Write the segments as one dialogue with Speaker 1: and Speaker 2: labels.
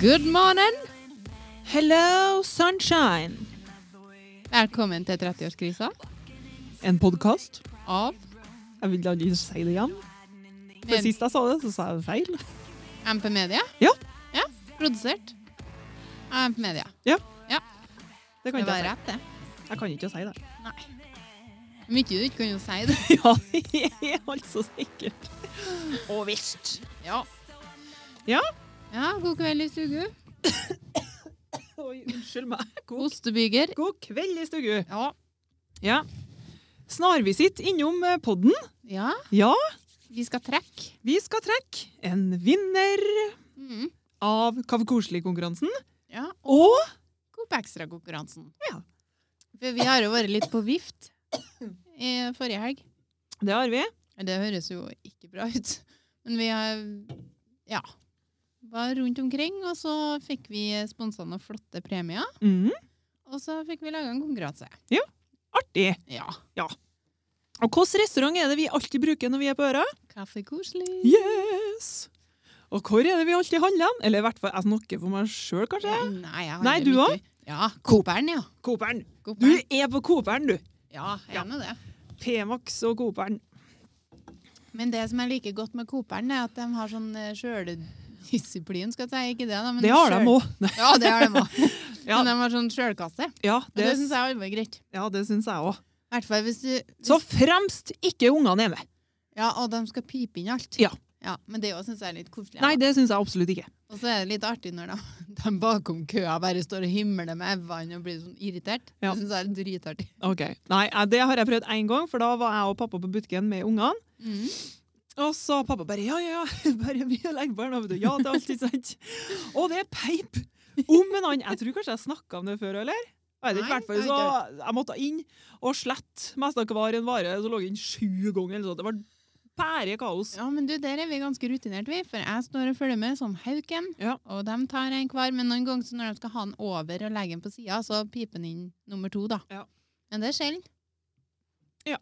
Speaker 1: Good morning!
Speaker 2: Hello, sunshine!
Speaker 1: Velkommen til 30-årskrisa
Speaker 2: En podkast.
Speaker 1: av
Speaker 2: Jeg vil aldri si det igjen. For
Speaker 1: Med-
Speaker 2: Sist jeg sa det, så sa jeg det feil.
Speaker 1: MP Media.
Speaker 2: Ja.
Speaker 1: Ja, Produsert av MP Media.
Speaker 2: Det kan
Speaker 1: Det
Speaker 2: ikke
Speaker 1: var
Speaker 2: jeg
Speaker 1: rett, det.
Speaker 2: si. Jeg kan ikke si det.
Speaker 1: Nei. Mye du ikke kan jo si det.
Speaker 2: Ja, det er altså sikkert. Og visst.
Speaker 1: Ja.
Speaker 2: Ja.
Speaker 1: Ja, God kveld i stugu.
Speaker 2: Oi, unnskyld meg. God,
Speaker 1: Ostebyger.
Speaker 2: god kveld i stugu.
Speaker 1: Ja.
Speaker 2: Ja. Snarvisitt innom eh, podden.
Speaker 1: ja.
Speaker 2: Ja,
Speaker 1: Vi skal trekke.
Speaker 2: vi skal trekke en vinner
Speaker 1: Mm.
Speaker 2: av Kavekoselig-konkurransen.
Speaker 1: Ja.
Speaker 2: Og
Speaker 1: Coop Extra-konkurransen.
Speaker 2: Ja.
Speaker 1: For vi har jo vært litt på vift i forrige helg.
Speaker 2: det har vi.
Speaker 1: Det høres jo ikke bra ut. Men vi har, ja, var rundt omkring, og så fikk vi sponsa noen flotte premier.
Speaker 2: Mhm.
Speaker 1: Og så fikk vi laga en konkurranse.
Speaker 2: Artig.
Speaker 1: Ja.
Speaker 2: Og hvilken restaurant er det vi alltid bruker når vi er på Øra?
Speaker 1: Kaffe koselig.
Speaker 2: Yes! Og hvor er det vi alltid handler? hen? Eller i hvert fall, jeg snakker for meg sjøl, kanskje.
Speaker 1: Nei, jeg har
Speaker 2: Nei,
Speaker 1: det
Speaker 2: du
Speaker 1: midt
Speaker 2: også?
Speaker 1: i- Ja. Cooperen, ja.
Speaker 2: Cooperen. Du
Speaker 1: Cooperen.
Speaker 2: er på Cooperen, du.
Speaker 1: Ja, jeg
Speaker 2: Ja.
Speaker 1: er med det.
Speaker 2: P-Max og Cooperen.
Speaker 1: Men det som jeg liker godt med Cooperen, er at de har sånn eh, sjøldisiplin, skal jeg si. Ikke det, da, men
Speaker 2: Det har de
Speaker 1: sjøl-
Speaker 2: òg.
Speaker 1: Ja, det har de òg.
Speaker 2: Ja.
Speaker 1: Men de har sånn sjølkasse. Og
Speaker 2: Ja,
Speaker 1: Det,
Speaker 2: det,
Speaker 1: synes syns jeg er veldig greit.
Speaker 2: ja, det syns jeg òg.
Speaker 1: I hvert fall hvis du
Speaker 2: Så fremst ikke ungene er med.
Speaker 1: Ja, og de skal pipe inn alt.
Speaker 2: Ja.
Speaker 1: men det syns jeg er litt koselig.
Speaker 2: Nei, det syns jeg absolutt ikke.
Speaker 1: Og så er det litt artig når de, de bakom køa bare står og himler med evene og blir sånn irritert.
Speaker 2: Ja.
Speaker 1: Det syns jeg er dritartig.
Speaker 2: Ok. Nei, eh, Det har jeg prøvd én gang, for da var jeg og pappa på butikken med ungene. Mm. Og så har pappa bare ja, ja, ja, bare vi legger barnehagen. Ja, det er alltid sant. Og det er peip om en annen. Jeg tror kanskje jeg snakka om det før, eller? Jeg vet ikke, i
Speaker 1: Nei,
Speaker 2: hvert fall
Speaker 1: jeg
Speaker 2: så
Speaker 1: vet
Speaker 2: jeg måtte inn og slette mest av hver en vare. Så lå jeg inn sju ganger eller noe sånt. Det var pære kaos.
Speaker 1: Ja, men du, der er vi ganske rutinert, vi. For jeg står og følger med som hauken,
Speaker 2: Ja.
Speaker 1: og de tar en hver. Men noen ganger så når de skal ha den over og legge den på sida, så piper den inn nummer to, da.
Speaker 2: Ja.
Speaker 1: Men det er sjelden.
Speaker 2: Ja.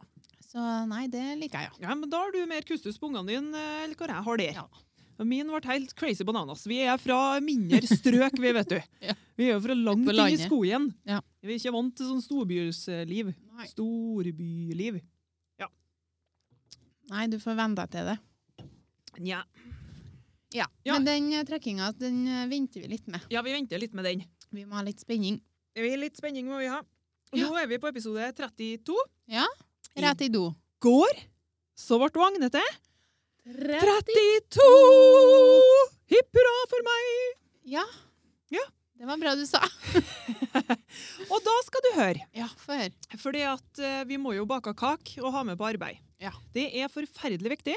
Speaker 1: Så nei, det liker jeg, ja.
Speaker 2: Ja, men Da har du mer kustus på ungene dine eh, eller hva jeg har der.
Speaker 1: Ja.
Speaker 2: Og Min ble helt crazy bananas. Vi er fra mindre strøk, vi, vet du.
Speaker 1: Ja.
Speaker 2: Vi er jo fra langt
Speaker 1: På
Speaker 2: inn i
Speaker 1: landet.
Speaker 2: skogen.
Speaker 1: Ja.
Speaker 2: Vi er ikke vant til sånn storbyliv.
Speaker 1: Nei,
Speaker 2: Storbyliv.
Speaker 1: nei du får venne deg til det.
Speaker 2: Nja.
Speaker 1: Ja.
Speaker 2: Ja.
Speaker 1: Men den eh, trekkinga, den eh, venter vi litt med.
Speaker 2: Ja, vi venter litt med den.
Speaker 1: Vi må ha litt spenning.
Speaker 2: Vi er litt spenning må vi ha. Og Nå er vi på episode 32. I-
Speaker 1: Rett i do.
Speaker 2: Går så ble Agne til 32! Hipp hurra for meg!
Speaker 1: Ja.
Speaker 2: Ja.
Speaker 1: Det var bra du sa.
Speaker 2: Og da skal du høre,
Speaker 1: Ja, få høre.
Speaker 2: fordi at eh, vi må jo bake kake og ha med på arbeid.
Speaker 1: Ja.
Speaker 2: Det er forferdelig viktig.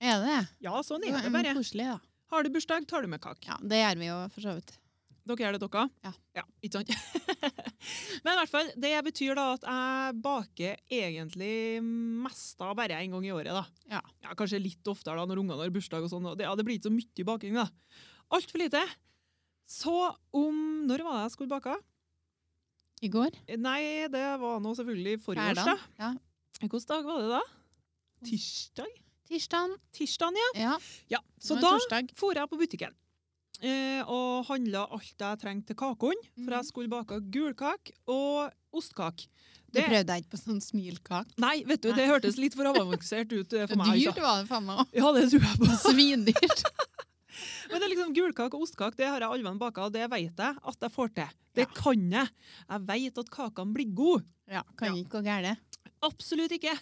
Speaker 1: Er det det?
Speaker 2: Ja, sånn
Speaker 1: var
Speaker 2: er det
Speaker 1: en
Speaker 2: bare.
Speaker 1: Koselig, da.
Speaker 2: Har du bursdag, tar du med kake.
Speaker 1: Ja, det gjør vi jo for så vidt.
Speaker 2: Dere gjør det, dere?
Speaker 1: Ja.
Speaker 2: ikke sant? Men i hvert fall, det betyr da at jeg baker egentlig mest av bare en gang i året. da.
Speaker 1: Ja.
Speaker 2: kanskje litt oftere da, når ungene har bursdag. og sånn. og Det, ja, det blir ikke så mye baking. da. Altfor lite. Så om Når var det jeg skulle bake?
Speaker 1: I går?
Speaker 2: Nei, det var nå selvfølgelig forrige års. da.
Speaker 1: Hverdagen? Ja.
Speaker 2: Hvilken dag var det da? Tirsdag?
Speaker 1: Tirsdagen?
Speaker 2: Tirsdag, ja.
Speaker 1: Ja.
Speaker 2: ja. Så
Speaker 1: nå er
Speaker 2: da
Speaker 1: Torsdag.
Speaker 2: for jeg på butikken eh, og handla alt jeg trengte til kakene. For jeg skulle bake gulkake og ostekake.
Speaker 1: Mm. Du
Speaker 2: Det-
Speaker 1: prøvde deg ikke på sånn smilkake?
Speaker 2: Nei, vet du, det hørtes litt for avansert ut eh, for meg.
Speaker 1: Dyrt
Speaker 2: altså.
Speaker 1: var det faen meg òg.
Speaker 2: Ja, det tror jeg på.
Speaker 1: Svindyrt.
Speaker 2: Men det er liksom gulkake og ostekake det har jeg allmenn baka, og det vet jeg at jeg får til. Det kan jeg. Jeg vet at kakene blir gode.
Speaker 1: Ja, kan
Speaker 2: Ja.
Speaker 1: ikke gå gærent.
Speaker 2: Absolutt ikke.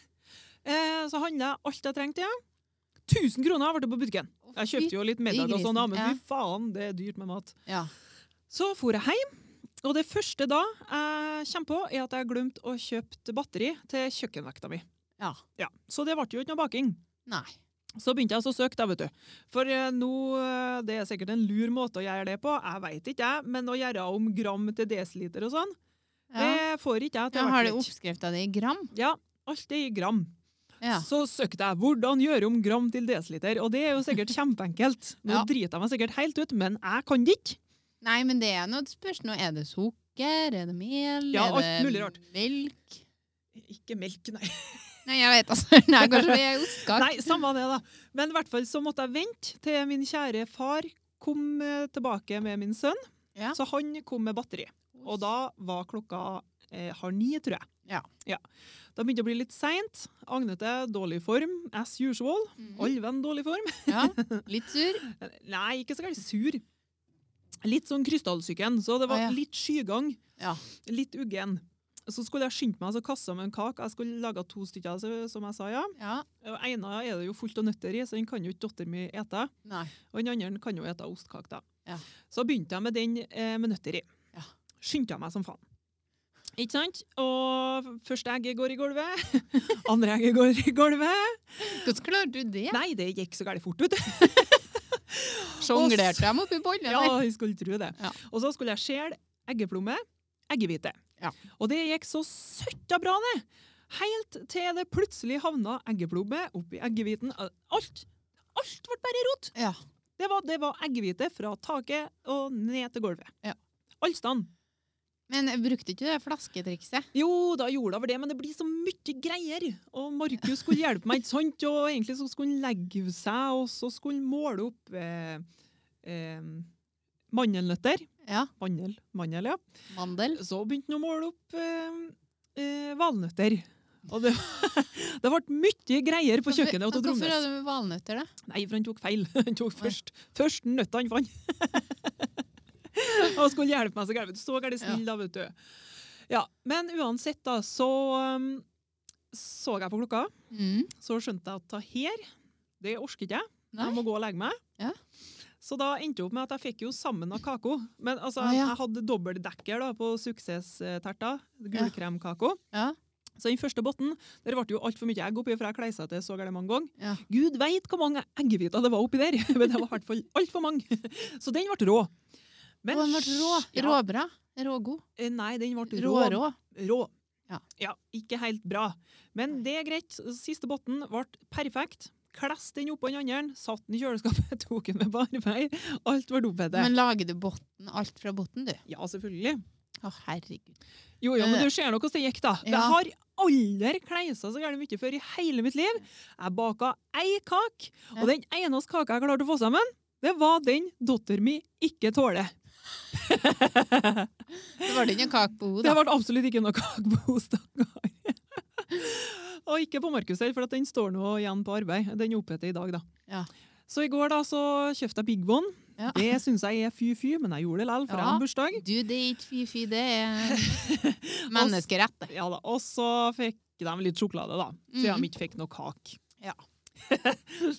Speaker 2: Eh, så handla jeg alt jeg trengte. Ja. 1000 kroner ble det på butikken. Jeg kjøpte jo litt middag og sånn, da, men
Speaker 1: Ja.
Speaker 2: fy faen, det er dyrt med mat.
Speaker 1: Ja.
Speaker 2: Så for jeg hjem, og det første da jeg kommer på, er at jeg glemte å kjøpe batteri til kjøkkenvekta mi.
Speaker 1: ja.
Speaker 2: Ja, Så det ble jo ikke noe baking.
Speaker 1: Nei.
Speaker 2: Så begynte jeg altså å søke, da, vet du. For eh, nå, eh, det er sikkert en lur måte å gjøre det på, jeg veit ikke jeg, men å gjøre om gram til desiliter og sånn,
Speaker 1: Ja.
Speaker 2: det får ikke jeg til.
Speaker 1: Ja,
Speaker 2: å
Speaker 1: har
Speaker 2: være
Speaker 1: du
Speaker 2: lett.
Speaker 1: oppskrifta di i gram?
Speaker 2: Ja, alt er i gram.
Speaker 1: Ja.
Speaker 2: Så søkte jeg 'hvordan gjøre om gram til desiliter', og det er jo sikkert kjempeenkelt. Nå
Speaker 1: Ja.
Speaker 2: driter jeg meg sikkert helt ut, men jeg kan det ikke.
Speaker 1: Nei, men det er noe spørsmål. Er det sukker? Er det mel?
Speaker 2: Ja, alt
Speaker 1: er
Speaker 2: mulig
Speaker 1: det
Speaker 2: rart.
Speaker 1: melk?
Speaker 2: Ikke melk, nei.
Speaker 1: Nei, jeg vet altså. Nei, kanskje det er ostekake.
Speaker 2: Nei, samme det, da. Men i hvert fall så måtte jeg vente til min kjære far kom eh, tilbake med min sønn,
Speaker 1: Ja.
Speaker 2: så han kom med batteri. Og da var klokka eh, halv ni, tror jeg.
Speaker 1: Ja.
Speaker 2: Da begynte det å bli litt seint. Agnete dårlig form, as usual.
Speaker 1: Mm.
Speaker 2: Alven dårlig form.
Speaker 1: Ja, litt sur.
Speaker 2: Nei, ikke så gærent sur. Litt sånn krystallsyken, så det var
Speaker 1: Å, ja.
Speaker 2: litt skygang.
Speaker 1: Ja.
Speaker 2: Litt uggen. Så skulle jeg skynde meg og kaste med en kake. Jeg skulle lage to stykker, så- som jeg sa, ja.
Speaker 1: Ja.
Speaker 2: Og ene er det jo fullt av nøtter i, så den kan jo ikke datteren min ete.
Speaker 1: Nei.
Speaker 2: Og den andre kan jo ete ostkake, da.
Speaker 1: Ja.
Speaker 2: Så begynte jeg med den eh, med nøtter i.
Speaker 1: Ja.
Speaker 2: Skyndte jeg meg som faen. Ikke sant? Og første egget går i gulvet. Andre egget går i gulvet.
Speaker 1: Hvordan klarte du det?
Speaker 2: Nei, det gikk så gærent fort ut.
Speaker 1: Sjonglerte dem oppi bollen?
Speaker 2: Ja,
Speaker 1: eller?
Speaker 2: jeg skulle tro det.
Speaker 1: Ja.
Speaker 2: Og så skulle jeg skjele eggeplomme, eggehvite.
Speaker 1: Ja.
Speaker 2: Og det gikk så søtta bra, det! Helt til det plutselig havna eggeplomme oppi eggehviten. Alt! Alt ble bare rot!
Speaker 1: Ja.
Speaker 2: Det var, det var eggehvite fra taket og ned til gulvet.
Speaker 1: Ja.
Speaker 2: Allstand.
Speaker 1: Men brukte ikke du det flasketrikset?
Speaker 2: Jo, da gjorde jeg vel det, men det blir så mye greier. Og Markus skulle hjelpe meg, ikke sant? Og egentlig så skulle han legge seg, og så skulle han måle opp eh, eh, mandelnøtter.
Speaker 1: Ja.
Speaker 2: Mandel, mandel, ja.
Speaker 1: Mandel?
Speaker 2: Så begynte han å måle opp eh, eh, valnøtter. Og det, det ble mye greier på kjøkkenet. og til
Speaker 1: Hvorfor- Hvorfor
Speaker 2: Tromnes.
Speaker 1: er det med valnøtter, da?
Speaker 2: Nei, for han tok feil. Han tok først, først nøtta han fant. og skulle hjelpe meg så gærent. Så gærent snill, da, vet du. Ja, Men uansett, da, så um, så jeg på klokka.
Speaker 1: Mm.
Speaker 2: Så skjønte jeg at det her, det orker ikke jeg.
Speaker 1: Nei.
Speaker 2: Jeg må gå og legge meg.
Speaker 1: Ja.
Speaker 2: Så da endte det opp med at jeg fikk jo sammen av kako. Men altså,
Speaker 1: Ah, ja.
Speaker 2: jeg hadde dobbeltdekker da, på suksessterta. Gullkremkako.
Speaker 1: Ja.
Speaker 2: Så den første botten, der ble jo altfor mye egg oppi, for jeg kleisa til så gærent mange ganger.
Speaker 1: Ja.
Speaker 2: Gud veit hvor mange eggehviter det var oppi der, men det var i hvert fall altfor mange. Så den ble rå. Men-
Speaker 1: Og den ble rå.
Speaker 2: Ja,
Speaker 1: Råbra. Rågod.
Speaker 2: eh, Nei, den ble rå.
Speaker 1: Rårå.
Speaker 2: Rå.
Speaker 1: Ja.
Speaker 2: ikke helt bra. Men det er greit. Siste botten ble perfekt. Kless den oppå den andre, satt den i kjøleskapet, tok den med bare vei. Alt var dopete.
Speaker 1: Men lager du botten, alt fra botten, du?
Speaker 2: Ja, selvfølgelig.
Speaker 1: Å, herregud.
Speaker 2: Jo, jo, men du ser nå hvordan det gikk, da. Jeg
Speaker 1: Eh. Ja.
Speaker 2: har aldri kleisa så gærent mye før i hele mitt liv. Jeg baka ei kake,
Speaker 1: Ja.
Speaker 2: og den eneste kaka jeg klarte å få sammen, det var den datteren min ikke tåler.
Speaker 1: Det var ikke en kake på
Speaker 2: Det
Speaker 1: hodet, da.
Speaker 2: ble absolutt ikke noe kake på henne, stakkar. og ikke på Markus heller, for at den står nå igjen på arbeid. Den er opphetet i dag, da.
Speaker 1: Ja.
Speaker 2: Så i går da, så kjøpte jeg Big One.
Speaker 1: Ja.
Speaker 2: Det syns jeg er fy-fy, men jeg gjorde det likevel, for jeg
Speaker 1: Ja.
Speaker 2: har bursdag.
Speaker 1: Du, det er ikke fy-fy, det er menneskerett, det.
Speaker 2: Ja da, Og så fikk de litt sjokolade, da. Så
Speaker 1: Mhm.
Speaker 2: de ikke fikk noe kake.
Speaker 1: Ja.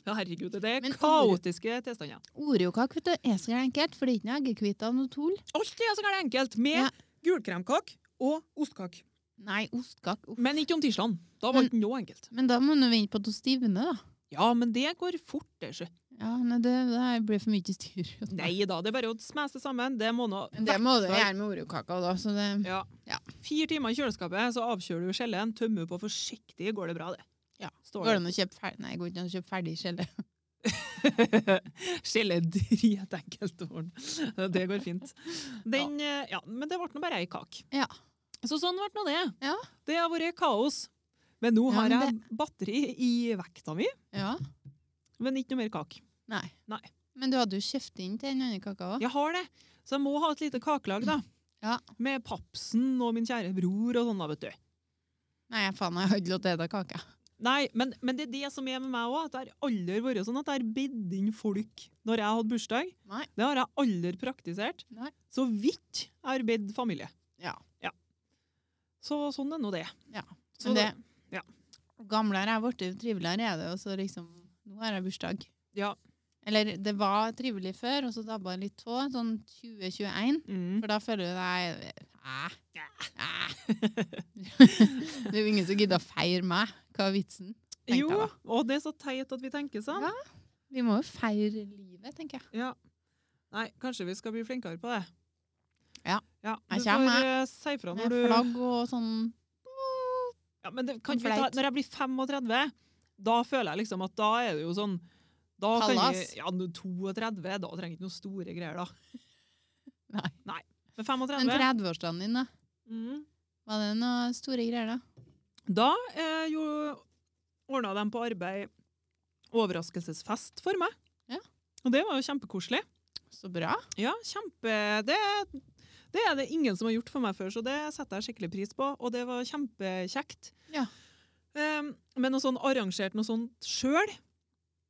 Speaker 2: Herregud, det er
Speaker 1: Men-
Speaker 2: kaotiske tilstander.
Speaker 1: Oreokake vet du, er så enkelt, for det er ikke noe eggehvite og noe tull.
Speaker 2: Alt er så gærent enkelt med
Speaker 1: Ja.
Speaker 2: gulkremkake og ostekake.
Speaker 1: Nei, ostkake. uff.
Speaker 2: Men ikke om tirsdagen. Da var
Speaker 1: Men-
Speaker 2: ikke noe enkelt.
Speaker 1: Men da må du vente på at hun stivner, da.
Speaker 2: Ja, men det går fort, det, sjø.
Speaker 1: Ja, nei, det, det her blir for mye styr.
Speaker 2: Nei da, det er bare å smese sammen. Det må nå
Speaker 1: Men det må du
Speaker 2: Hvertfall-
Speaker 1: gjøre med oreokaka, da. Så det
Speaker 2: Ja.
Speaker 1: Ja.
Speaker 2: Fire timer i kjøleskapet, så avkjøler du skjellen, tømmer på forsiktig, går det bra, det.
Speaker 1: Ja.
Speaker 2: Står
Speaker 1: går det
Speaker 2: det.
Speaker 1: an å kjøpe ferdig Nei, går det ikke an å kjøpe ferdig skjelle.
Speaker 2: Skjelle er dritenkelt, Våren. Det går fint. Den, eh, ja, men det ble nå bare ei kake.
Speaker 1: Ja.
Speaker 2: Så sånn ble nå det.
Speaker 1: Ja.
Speaker 2: Det har vært kaos. Men nå
Speaker 1: Ja,
Speaker 2: har
Speaker 1: men
Speaker 2: jeg batteri i vekta mi,
Speaker 1: Ja.
Speaker 2: men ikke noe mer kake.
Speaker 1: Nei.
Speaker 2: Nei.
Speaker 1: Men du hadde jo kjøpt inn til den andre kaka òg.
Speaker 2: Jeg har det, så jeg må ha et lite kakelag, da.
Speaker 1: Ja.
Speaker 2: Med Papsen og min kjære bror og sånn, da, vet du.
Speaker 1: Nei, faen, jeg har ikke lov til å spise kake.
Speaker 2: Nei, men, men det er det som er med meg òg. Det har aldri vært sånn at jeg har bedt inn folk når jeg har hatt bursdag.
Speaker 1: Nei.
Speaker 2: Det har jeg aldri praktisert.
Speaker 1: Nei.
Speaker 2: Så vidt jeg har bedt familie.
Speaker 1: Ja.
Speaker 2: Så sånn er nå det.
Speaker 1: Ja,
Speaker 2: Så
Speaker 1: Men det,
Speaker 2: det, ja.
Speaker 1: Gamlere jeg er blitt, jo triveligere er det. Og så liksom Nå har jeg bursdag.
Speaker 2: Ja.
Speaker 1: Eller det var trivelig før, og så dabba det litt av. Sånn 2021.
Speaker 2: mm.
Speaker 1: For da føler du deg Æh. æh. Det er jo ingen som gidder å feire meg. Hva er vitsen? tenkte jeg
Speaker 2: Jo,
Speaker 1: da.
Speaker 2: og det er så teit at vi tenker sånn.
Speaker 1: Ja. Vi må jo feire livet, tenker jeg.
Speaker 2: Ja. Nei, kanskje vi skal bli flinkere på det.
Speaker 1: Ja.
Speaker 2: ja.
Speaker 1: Jeg
Speaker 2: Du
Speaker 1: kommer,
Speaker 2: får eh, si fra
Speaker 1: Med
Speaker 2: når du
Speaker 1: flagg og sånn
Speaker 2: ja, men det, kan
Speaker 1: og
Speaker 2: vi ta,
Speaker 1: fleit.
Speaker 2: Når jeg blir 35, da føler jeg liksom at da er det jo sånn da kan vi,
Speaker 1: Kalas.
Speaker 2: ja, nå 32, da trenger jeg ikke noen store greier, da.
Speaker 1: Nei.
Speaker 2: Men
Speaker 1: Men
Speaker 2: 35
Speaker 1: 30-årsdagen din, da?
Speaker 2: mm.
Speaker 1: Var det noen store greier, da?
Speaker 2: Da eh, jo, ordna de på arbeid overraskelsesfest for meg.
Speaker 1: Ja.
Speaker 2: Og det var jo kjempekoselig.
Speaker 1: Så bra.
Speaker 2: Ja, kjempe... Det, det er det ingen som har gjort for meg før, så det setter jeg skikkelig pris på. Og det var kjempekjekt.
Speaker 1: Ja.
Speaker 2: Ehm, men noe sånn arrangert noe sånt sjøl,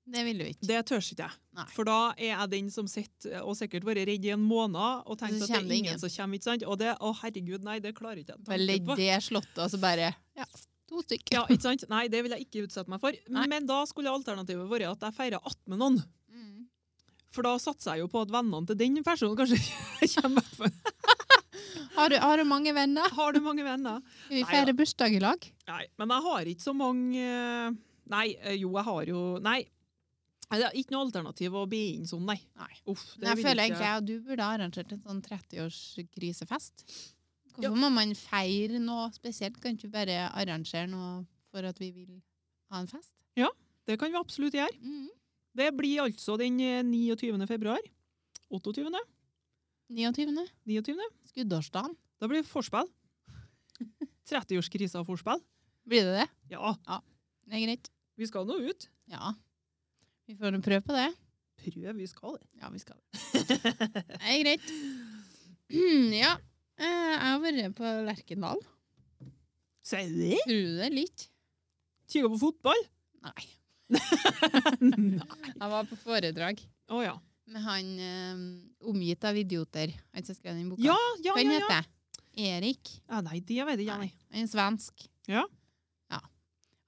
Speaker 1: Det ville du ikke.
Speaker 2: det tør ikke jeg.
Speaker 1: Nei.
Speaker 2: For da er jeg den som sitter eh, og sikkert vært redd i en måned og tenkt
Speaker 1: Så
Speaker 2: at det er
Speaker 1: kommer det
Speaker 2: ingen,
Speaker 1: ingen.
Speaker 2: som kommer. ikke sant? Og det, å herregud, nei, det klarer ikke jeg
Speaker 1: Bare
Speaker 2: tanken
Speaker 1: legg
Speaker 2: på.
Speaker 1: det slottet, og så bare ja, to stykker.
Speaker 2: Ja, ikke sant? Nei, det vil jeg ikke utsette meg for.
Speaker 1: Nei.
Speaker 2: Men da skulle alternativet vært at jeg feirer att med noen.
Speaker 1: Mm.
Speaker 2: For da satser jeg jo på at vennene til den personen kanskje kommer. For
Speaker 1: Har, du, har du mange venner?
Speaker 2: Har du mange venner?
Speaker 1: Skal vi
Speaker 2: Nei
Speaker 1: feire bursdag i lag?
Speaker 2: Nei, men jeg har ikke så mange eh, Nei, eh, jo, jeg har jo Nei. Det er ikke noe alternativ å be inn sånn, nei.
Speaker 1: Nei.
Speaker 2: Uff,
Speaker 1: Men jeg
Speaker 2: vil
Speaker 1: føler
Speaker 2: ikke-
Speaker 1: egentlig at du burde ha arrangert en sånn 30-årskrisefest. Hvorfor må man feire noe spesielt? Kan ikke vi bare arrangere noe for at vi vil ha en fest?
Speaker 2: Det kan vi absolutt gjøre.
Speaker 1: Mm.
Speaker 2: Det blir altså den eh, 29. februar. 28.
Speaker 1: 29.
Speaker 2: 29.
Speaker 1: Skuddårsdagen.
Speaker 2: Da blir det forspill. 30-årskrisa og forspill.
Speaker 1: Blir det det?
Speaker 2: Ja,
Speaker 1: Det er greit.
Speaker 2: vi skal nå ut.
Speaker 1: Ja. Vi får nå prøve på det.
Speaker 2: Prøv, vi skal det.
Speaker 1: Ja, vi skal det. Det er greit. ja. Eh, Jeg har vært på Lerkendal.
Speaker 2: Sier du det?
Speaker 1: Tror du det? Litt?
Speaker 2: Kikker på fotball?
Speaker 1: Nei.
Speaker 2: Nei.
Speaker 1: Jeg var på foredrag
Speaker 2: Å ja.
Speaker 1: med han eh, omgitt av idioter. Han som skrev den boka.
Speaker 2: Ja, ja,
Speaker 1: Hva
Speaker 2: ja. ja.
Speaker 1: heter jeg? Erik.
Speaker 2: ja nei, det vet jeg ikke. Nei.
Speaker 1: Han er svensk.
Speaker 2: Ja.
Speaker 1: Ja.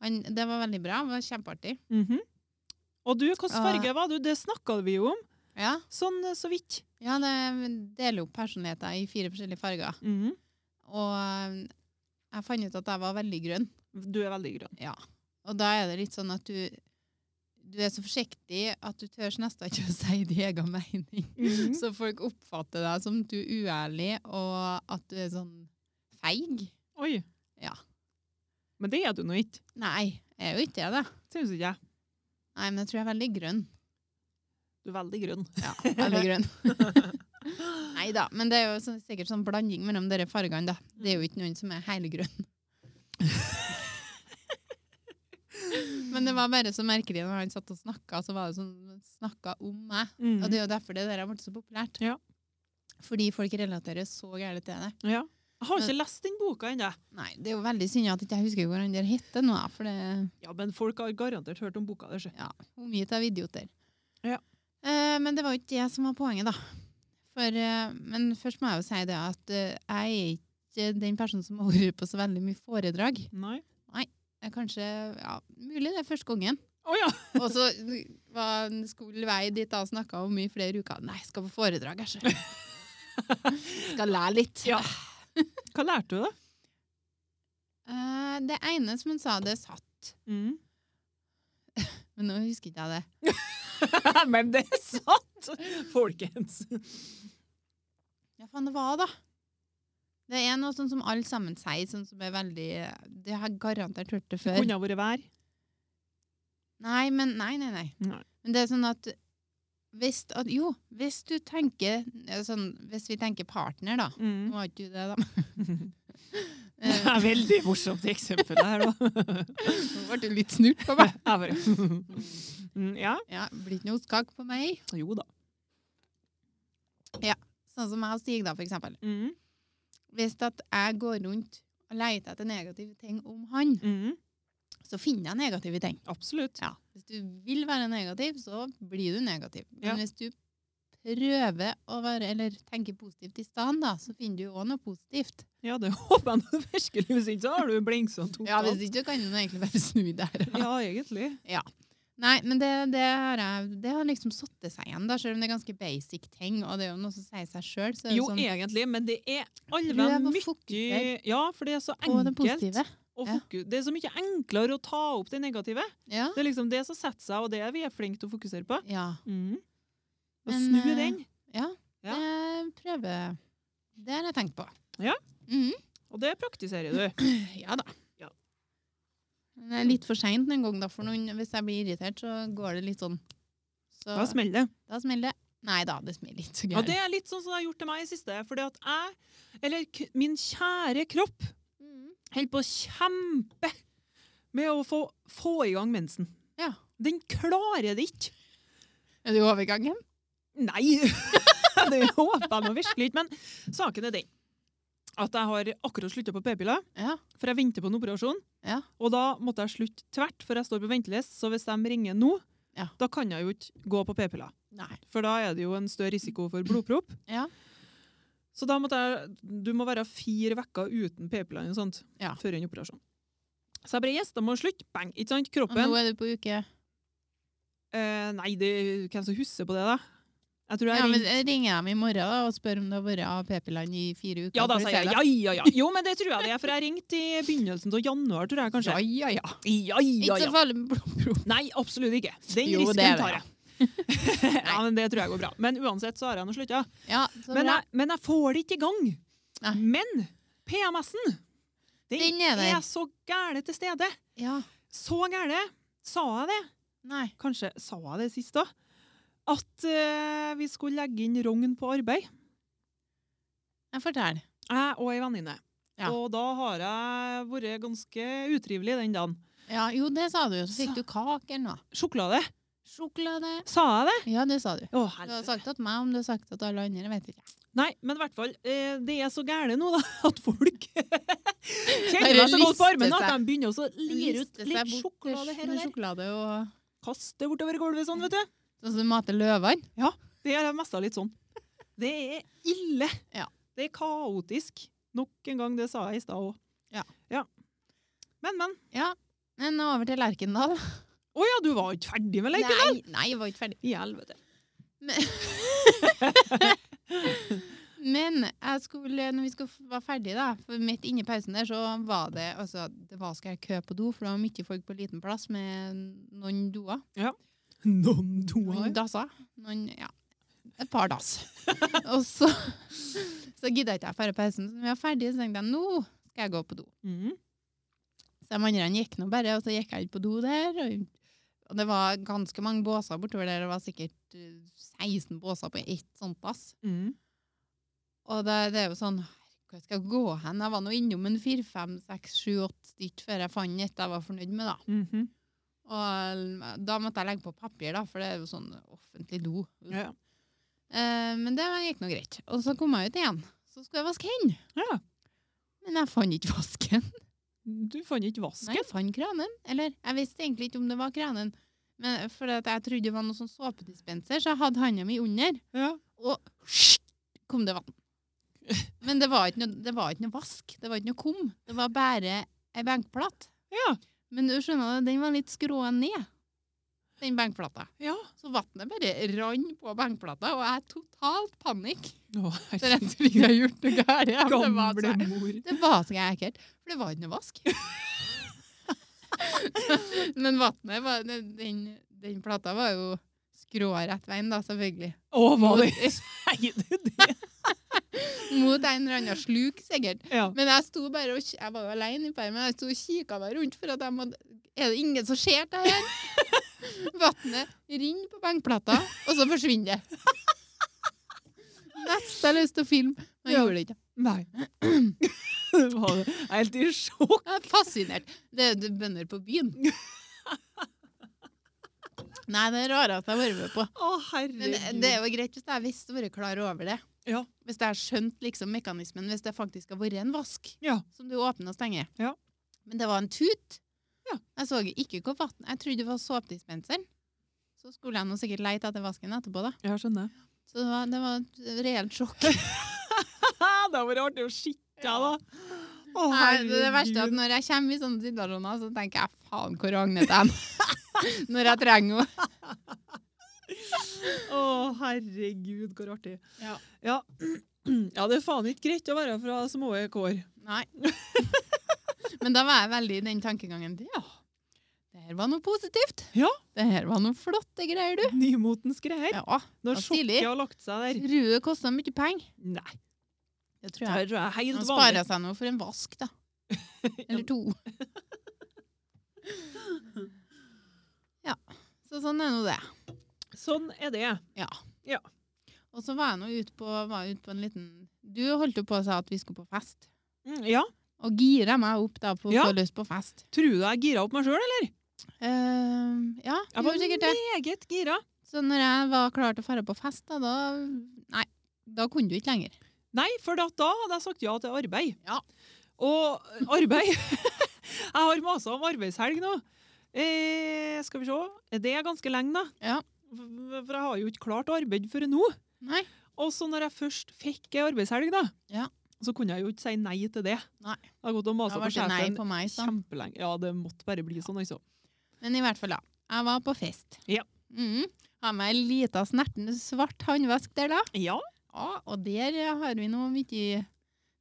Speaker 1: Han, det var veldig bra. Det var kjempeartig.
Speaker 2: Mhm. Og du, hvilken
Speaker 1: Ah.
Speaker 2: farge var du? Det snakka vi jo om,
Speaker 1: Ja,
Speaker 2: sånn eh, så vidt.
Speaker 1: ja det deler opp personligheter i fire forskjellige farger.
Speaker 2: Mhm.
Speaker 1: Og eh, jeg fant ut at jeg var veldig grønn.
Speaker 2: Du er veldig grønn.
Speaker 1: Og da er det litt sånn at du, du er så forsiktig at du tør nesten ikke å si din egen mening.
Speaker 2: Mhm.
Speaker 1: Så folk oppfatter deg som du er uærlig, og at du er sånn feig.
Speaker 2: Oi.
Speaker 1: Ja.
Speaker 2: Men det er du nå ikke,
Speaker 1: Nei, jeg er jo ikke det. da.
Speaker 2: syns ikke jeg.
Speaker 1: Nei, men jeg tror jeg er veldig grønn.
Speaker 2: Du er veldig grønn.
Speaker 1: Ja, veldig grønn. Nei da, men det er jo sånn- sikkert sånn blanding mellom dere fargene, da. Det er jo ikke noen som er helgrønn. men det var bare så merkelig når han satt og snakka, så var det sånn snakka om meg.
Speaker 2: Mhm.
Speaker 1: Og det er jo derfor det der har blitt så populært.
Speaker 2: Ja.
Speaker 1: Fordi folk relaterer så gærent til det.
Speaker 2: Ja. Jeg har ikke lest den boka ennå.
Speaker 1: Nei, det er jo veldig synd at jeg ikke husker hvor han der heter nå, for det er
Speaker 2: Ja, men folk har garantert hørt om boka. Det,
Speaker 1: omgitt av idioter.
Speaker 2: Ja.
Speaker 1: Eh, men det var jo ikke det som var poenget, da. For, eh, men først må jeg jo si det at eh, jeg er ikke den personen som har vært på så veldig mye foredrag.
Speaker 2: Nei.
Speaker 1: Det er kanskje, ja, mulig det er første gangen.
Speaker 2: Å ja!
Speaker 1: Og så var en skole vei dit da og snakka om mye flere uker. Nei, jeg skal på foredrag, jeg. sjø. Skal lære litt.
Speaker 2: Ja. Hva lærte du, da?
Speaker 1: Eh, det ene som hun sa, det satt.
Speaker 2: Mhm.
Speaker 1: Men nå husker ikke jeg det.
Speaker 2: men det er sant! Folkens.
Speaker 1: Ja, faen, det var da. Det er noe sånn som alle sammen sier, sånn som er veldig Det har jeg garantert hørt det
Speaker 2: Det
Speaker 1: før.
Speaker 2: kunne ha vært vær.
Speaker 1: Nei, men nei, nei, nei.
Speaker 2: Nei.
Speaker 1: Men det er sånn at hvis at, Jo, hvis du tenker eh, sånn, Hvis vi tenker partner, da. Nå
Speaker 2: Mhm.
Speaker 1: var ikke du det, da.
Speaker 2: Det
Speaker 1: Eh,
Speaker 2: er veldig morsomt eksempel her, da.
Speaker 1: Nå ble du litt snurt på meg.
Speaker 2: Jeg bare Mm, Ja.
Speaker 1: Ja, Blir ikke noe ostkake på meg.
Speaker 2: Jo da.
Speaker 1: Sånn som jeg og Stig, da, for eksempel.
Speaker 2: Mm.
Speaker 1: Hvis at jeg går rundt og leter etter negative ting om han,
Speaker 2: Mm.
Speaker 1: så finner jeg negative ting.
Speaker 2: Absolutt.
Speaker 1: Ja. Hvis du vil være negativ, så blir du negativ. Men
Speaker 2: Ja.
Speaker 1: hvis du prøver å være, eller tenker positivt i stedet, da, så finner du jo også noe positivt.
Speaker 2: Ja, det håper jeg nå virkelig. Hvis ikke så har du blingsa totalt.
Speaker 1: Ja, hvis ikke, så kan du nå egentlig bare snu der.
Speaker 2: Ja, egentlig.
Speaker 1: Nei, men det, det, har, jeg, det har liksom satt det seg igjen, da, selv om det er ganske basic ting, og det er jo noe som sier seg sjøl. Så er det
Speaker 2: Jo,
Speaker 1: sånn,
Speaker 2: egentlig, men det er
Speaker 1: Prøv
Speaker 2: alven
Speaker 1: å
Speaker 2: mye
Speaker 1: fokusere
Speaker 2: Ja, for det er så
Speaker 1: på det
Speaker 2: enkelt.
Speaker 1: positive.
Speaker 2: å
Speaker 1: Ja.
Speaker 2: foku- Det er så mye enklere å ta opp det negative.
Speaker 1: Ja.
Speaker 2: Det er liksom det som setter seg, og det vi er flinke til å fokusere på.
Speaker 1: ja.
Speaker 2: Mm. Og
Speaker 1: Men,
Speaker 2: snu
Speaker 1: eh,
Speaker 2: den. Ja.
Speaker 1: Det prøver Det har jeg tenkt på.
Speaker 2: Ja.
Speaker 1: Mhm.
Speaker 2: Og det praktiserer du.
Speaker 1: Ja da.
Speaker 2: Ja.
Speaker 1: Men Det er litt for seint en gang, da. For noen, hvis jeg blir irritert, så går det litt sånn. Så
Speaker 2: Da smeller det.
Speaker 1: da smeller det. Nei da, det smeller ikke så
Speaker 2: Og
Speaker 1: gærent.
Speaker 2: det er litt sånn som det har gjort til meg i siste. Fordi at jeg, eller k min kjære kropp,
Speaker 1: Mhm.
Speaker 2: holder på å kjempe med å få, få i gang mensen.
Speaker 1: Ja.
Speaker 2: Den klarer det ikke.
Speaker 1: Er du i overgangen?
Speaker 2: Nei! det håper jeg nå virkelig ikke. Men saken er den at jeg har akkurat slutta på p-piller,
Speaker 1: Ja.
Speaker 2: for jeg venter på en operasjon.
Speaker 1: Ja.
Speaker 2: Og da måtte jeg slutte tvert, for jeg står på ventelist. Så hvis de ringer nå,
Speaker 1: Ja.
Speaker 2: da kan jeg jo ikke gå på p-piller.
Speaker 1: Nei.
Speaker 2: For da er det jo en større risiko for blodpropp.
Speaker 1: Ja.
Speaker 2: Så da måtte jeg Du må være fire uker uten p-piller eller noe sånt
Speaker 1: Ja.
Speaker 2: før en operasjon. Så jeg bare Yes, da må jeg slutte. Bang! Ikke sant?
Speaker 1: Og nå
Speaker 2: Kroppen
Speaker 1: er du på uke
Speaker 2: eh, Nei, det, hvem som husker på det, da? Jeg tror jeg
Speaker 1: Ja, men
Speaker 2: ringte
Speaker 1: Ringer jeg dem i morgen da, og spør om det har vært AAP-pillene i fire uker?
Speaker 2: Ja da,
Speaker 1: for å
Speaker 2: sier
Speaker 1: se
Speaker 2: jeg.
Speaker 1: det?
Speaker 2: Ja, ja, ja. Jo, men det tror jeg det er, for jeg ringte i begynnelsen av januar, tror jeg kanskje.
Speaker 1: Ja, ja, ja.
Speaker 2: Ja, ja,
Speaker 1: Ikke så
Speaker 2: ja.
Speaker 1: farlig med blodprov.
Speaker 2: Nei, absolutt ikke. Den
Speaker 1: Jo, det er
Speaker 2: risken
Speaker 1: det,
Speaker 2: tar jeg. ja, men Det tror jeg går bra. Men uansett så har jeg nå slutta.
Speaker 1: Ja, så
Speaker 2: Men,
Speaker 1: bra.
Speaker 2: jeg- men jeg får det ikke i gang.
Speaker 1: Nei.
Speaker 2: Men PMS-en, den,
Speaker 1: Den er der.
Speaker 2: er så gæle til stede.
Speaker 1: Ja.
Speaker 2: Så gæle, sa jeg det?
Speaker 1: Nei.
Speaker 2: Kanskje sa jeg det sist, da? At eh, vi skulle legge inn rogn på arbeid.
Speaker 1: Jeg forteller.
Speaker 2: Jeg og ei venninne.
Speaker 1: Ja.
Speaker 2: Og da har jeg vært ganske utrivelig den dagen.
Speaker 1: Ja, jo, det sa du jo. Så fikk
Speaker 2: Sa-
Speaker 1: du kake eller noe.
Speaker 2: Sjokolade,
Speaker 1: Sjokolade.
Speaker 2: sa jeg det?
Speaker 1: Ja, det sa du.
Speaker 2: Å,
Speaker 1: Du har
Speaker 2: helvete.
Speaker 1: sagt at meg om du har sagt at alle andre, jeg vet ikke.
Speaker 2: Nei, men i hvert fall, eh, det er så gæle nå da, at folk kjenner
Speaker 1: Bare
Speaker 2: meg så godt på
Speaker 1: lister
Speaker 2: armen at
Speaker 1: seg.
Speaker 2: de begynner også å lire ut
Speaker 1: Liste seg bort
Speaker 2: litt sjokolade her
Speaker 1: med
Speaker 2: og der.
Speaker 1: Sjokolade og...
Speaker 2: Kaste bortover gulvet sånn, vet du.
Speaker 1: Sånn som du mater løvene.
Speaker 2: Det er mest av litt sånn. Det er ille.
Speaker 1: Ja.
Speaker 2: Det er kaotisk. Nok en gang, det sa jeg i stad òg.
Speaker 1: Ja.
Speaker 2: Men, men.
Speaker 1: Ja. Men over til Lerkendal.
Speaker 2: Å ja, du var ikke ferdig med leken?
Speaker 1: Nei, nei, jeg var ikke ferdig.
Speaker 2: I helvete.
Speaker 1: Men jeg skulle, når vi skulle være ferdige, da, for midt inne i pausen der, så var det altså, Det var skal jeg kø på do, for det var mye folk på liten plass med noen doer.
Speaker 2: Noen
Speaker 1: Noen
Speaker 2: doer.
Speaker 1: dasser. Noen, ja. Et par dass. Og så, så gidda ikke jeg før pausen. Så når vi var ferdige, så tenkte jeg nå skal jeg gå på do.
Speaker 2: Mm.
Speaker 1: Så de andre gikk nå bare, og så gikk jeg inn på do der. Og, og det var ganske mange båser bortover der. Det var sikkert eh, 16 båser på ett sånt dass.
Speaker 2: Mm.
Speaker 1: Og det, det er jo sånn Hvor skal jeg gå hen? Jeg var nå innom en fire, fem, seks, sju, åtte stykker før jeg fant et jeg var fornøyd med, da.
Speaker 2: Mhm.
Speaker 1: Og eh, da måtte jeg legge på papir, da, for det er jo sånn offentlig do.
Speaker 2: ja.
Speaker 1: Eh, men det gikk nå greit. Og så kom jeg ut igjen. Så skulle jeg vaske hendene.
Speaker 2: Ja.
Speaker 1: Men jeg fant ikke vasken.
Speaker 2: Du fant ikke vasken?
Speaker 1: Nei, jeg fant kranen. Eller jeg visste egentlig ikke om det var kranen. Men eh, for at jeg trodde det var noe sånn såpedispenser, så jeg hadde handa mi under,
Speaker 2: Ja.
Speaker 1: og kom det vann. Men det var, ikke noe, det var ikke noe vask. Det var ikke noe kum. Det var bare ei benkplate.
Speaker 2: Ja.
Speaker 1: Men du skjønner, det, den var litt skrået ned, den benkplata.
Speaker 2: ja.
Speaker 1: Så vannet bare rant på benkplata, og jeg totalt panikk.
Speaker 2: Å,
Speaker 1: Så jeg trodde jeg hadde gjort noe galt. Ja, men det var
Speaker 2: Gamle
Speaker 1: så-
Speaker 2: mor.
Speaker 1: Det var så jævlig ekkelt, for det var ikke noe vask. Men vannet var den- Den, den plata var jo skrå rett veien, da, selvfølgelig.
Speaker 2: Å, var det
Speaker 1: Mot,
Speaker 2: Nei, det, det.
Speaker 1: mot en eller annen sluk, sikkert.
Speaker 2: Ja.
Speaker 1: Men jeg sto bare og, k- jeg var jo alene i permen, jeg sto og kikka meg rundt for at jeg måtte Er det ingen som ser det her? Vannet renner på benkplata, og så forsvinner det. Neste jeg har lyst til å filme, men jeg
Speaker 2: Ja.
Speaker 1: gjorde det ikke.
Speaker 2: Nei. Det var det. Jeg er helt i sjokk.
Speaker 1: Jeg er fascinert. Det er jo bønder på byen. Nei, det er rare at jeg har vært med på.
Speaker 2: Å, herregud.
Speaker 1: Men det er jo greit hvis jeg visste vært klar over det.
Speaker 2: Ja.
Speaker 1: Hvis jeg har skjønt liksom mekanismen, hvis det faktisk har vært en vask
Speaker 2: Ja.
Speaker 1: som du åpner og stenger.
Speaker 2: Ja.
Speaker 1: Men det var en tut.
Speaker 2: Ja.
Speaker 1: Jeg så ikke hvor vann Jeg trodde det var såpedispenseren. Så skulle jeg nå sikkert leite etter vasken etterpå, da.
Speaker 2: Jeg skjønner.
Speaker 1: Så det var, det var et reelt sjokk.
Speaker 2: det har vært artig å skitte, ja, da. Å,
Speaker 1: Nei, det, er det verste er at
Speaker 2: herregud.
Speaker 1: når jeg kommer i sånne situasjoner, så tenker jeg faen hvor ragnete jeg er. Når jeg trenger henne.
Speaker 2: Å, herregud, hvor artig.
Speaker 1: Ja.
Speaker 2: Ja. Ja, det er faen ikke greit å være fra små kår.
Speaker 1: Nei. Men da var jeg veldig i den tankegangen. Ja, det her var noe positivt.
Speaker 2: Ja.
Speaker 1: Det her var noe flotte greier, du.
Speaker 2: Nymotens greier.
Speaker 1: Ja,
Speaker 2: Når
Speaker 1: var stilig.
Speaker 2: sjokket har lagt seg der.
Speaker 1: Rue kosta mye penger.
Speaker 2: Nei,
Speaker 1: Det
Speaker 2: det
Speaker 1: tror jeg.
Speaker 2: her tror jeg er
Speaker 1: Han
Speaker 2: helt vanlig.
Speaker 1: sparer seg noe for en vask, da. Eller to. Ja. Så sånn er nå det.
Speaker 2: Sånn er det.
Speaker 1: Og så var jeg nå ute på, var ute på en liten Du holdt jo på å si at vi skulle på fest.
Speaker 2: Mm, Ja.
Speaker 1: Og gira meg opp da på å
Speaker 2: Ja.
Speaker 1: få lyst på fest.
Speaker 2: Tror du jeg gira opp meg sjøl, eller?
Speaker 1: Ehm, ja,
Speaker 2: Jeg
Speaker 1: jeg var
Speaker 2: var
Speaker 1: sikkert det.
Speaker 2: meget gira.
Speaker 1: Så når jeg var klar til å dra på fest, da, da Nei, Da kunne du ikke lenger.
Speaker 2: Nei, for da, da hadde jeg sagt ja til arbeid.
Speaker 1: Ja.
Speaker 2: Og eh, arbeid Jeg har masa om arbeidshelg nå. Eh, skal vi se. Det er ganske lenge, da.
Speaker 1: Ja.
Speaker 2: F- For jeg har jo ikke klart å arbeide før nå.
Speaker 1: Nei.
Speaker 2: Og så når jeg først fikk ei arbeidshelg, da,
Speaker 1: Ja.
Speaker 2: så kunne jeg jo ikke si nei til det.
Speaker 1: Nei.
Speaker 2: Jeg har gått og
Speaker 1: Da
Speaker 2: masa
Speaker 1: ble
Speaker 2: på
Speaker 1: det nei
Speaker 2: sjefen
Speaker 1: på meg. Så.
Speaker 2: kjempelenge. Ja, det måtte bare bli sånn, altså.
Speaker 1: Men i hvert fall, da. Jeg var på fest.
Speaker 2: Ja.
Speaker 1: Mhm. Har med ei lita snertende svart håndvask der, da.
Speaker 2: Ja.
Speaker 1: Ja, og der eh, har vi noe mye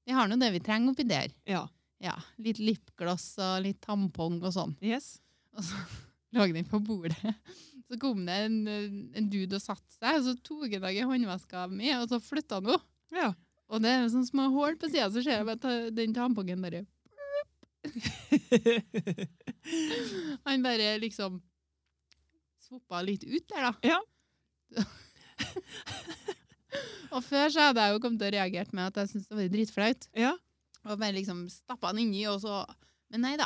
Speaker 1: Vi har nå det vi trenger oppi der.
Speaker 2: Ja.
Speaker 1: Ja, Litt lipgloss og litt tampong og sånn.
Speaker 2: Yes.
Speaker 1: Og så lå den på bordet. Så kom det en, eh, en dude og satte seg, og så tok han tak i håndvaska mi, og så flytta han henne.
Speaker 2: Ja.
Speaker 1: Og det er sånne små hull på sida, så ser jeg bare ta- den tampongen bare Han bare liksom svoppa litt ut der, da.
Speaker 2: Ja.
Speaker 1: og før så hadde jeg jo kommet til å reagert med at jeg syntes det var dritflaut.
Speaker 2: ja.
Speaker 1: Og bare liksom stappa den inni, og så Men nei da.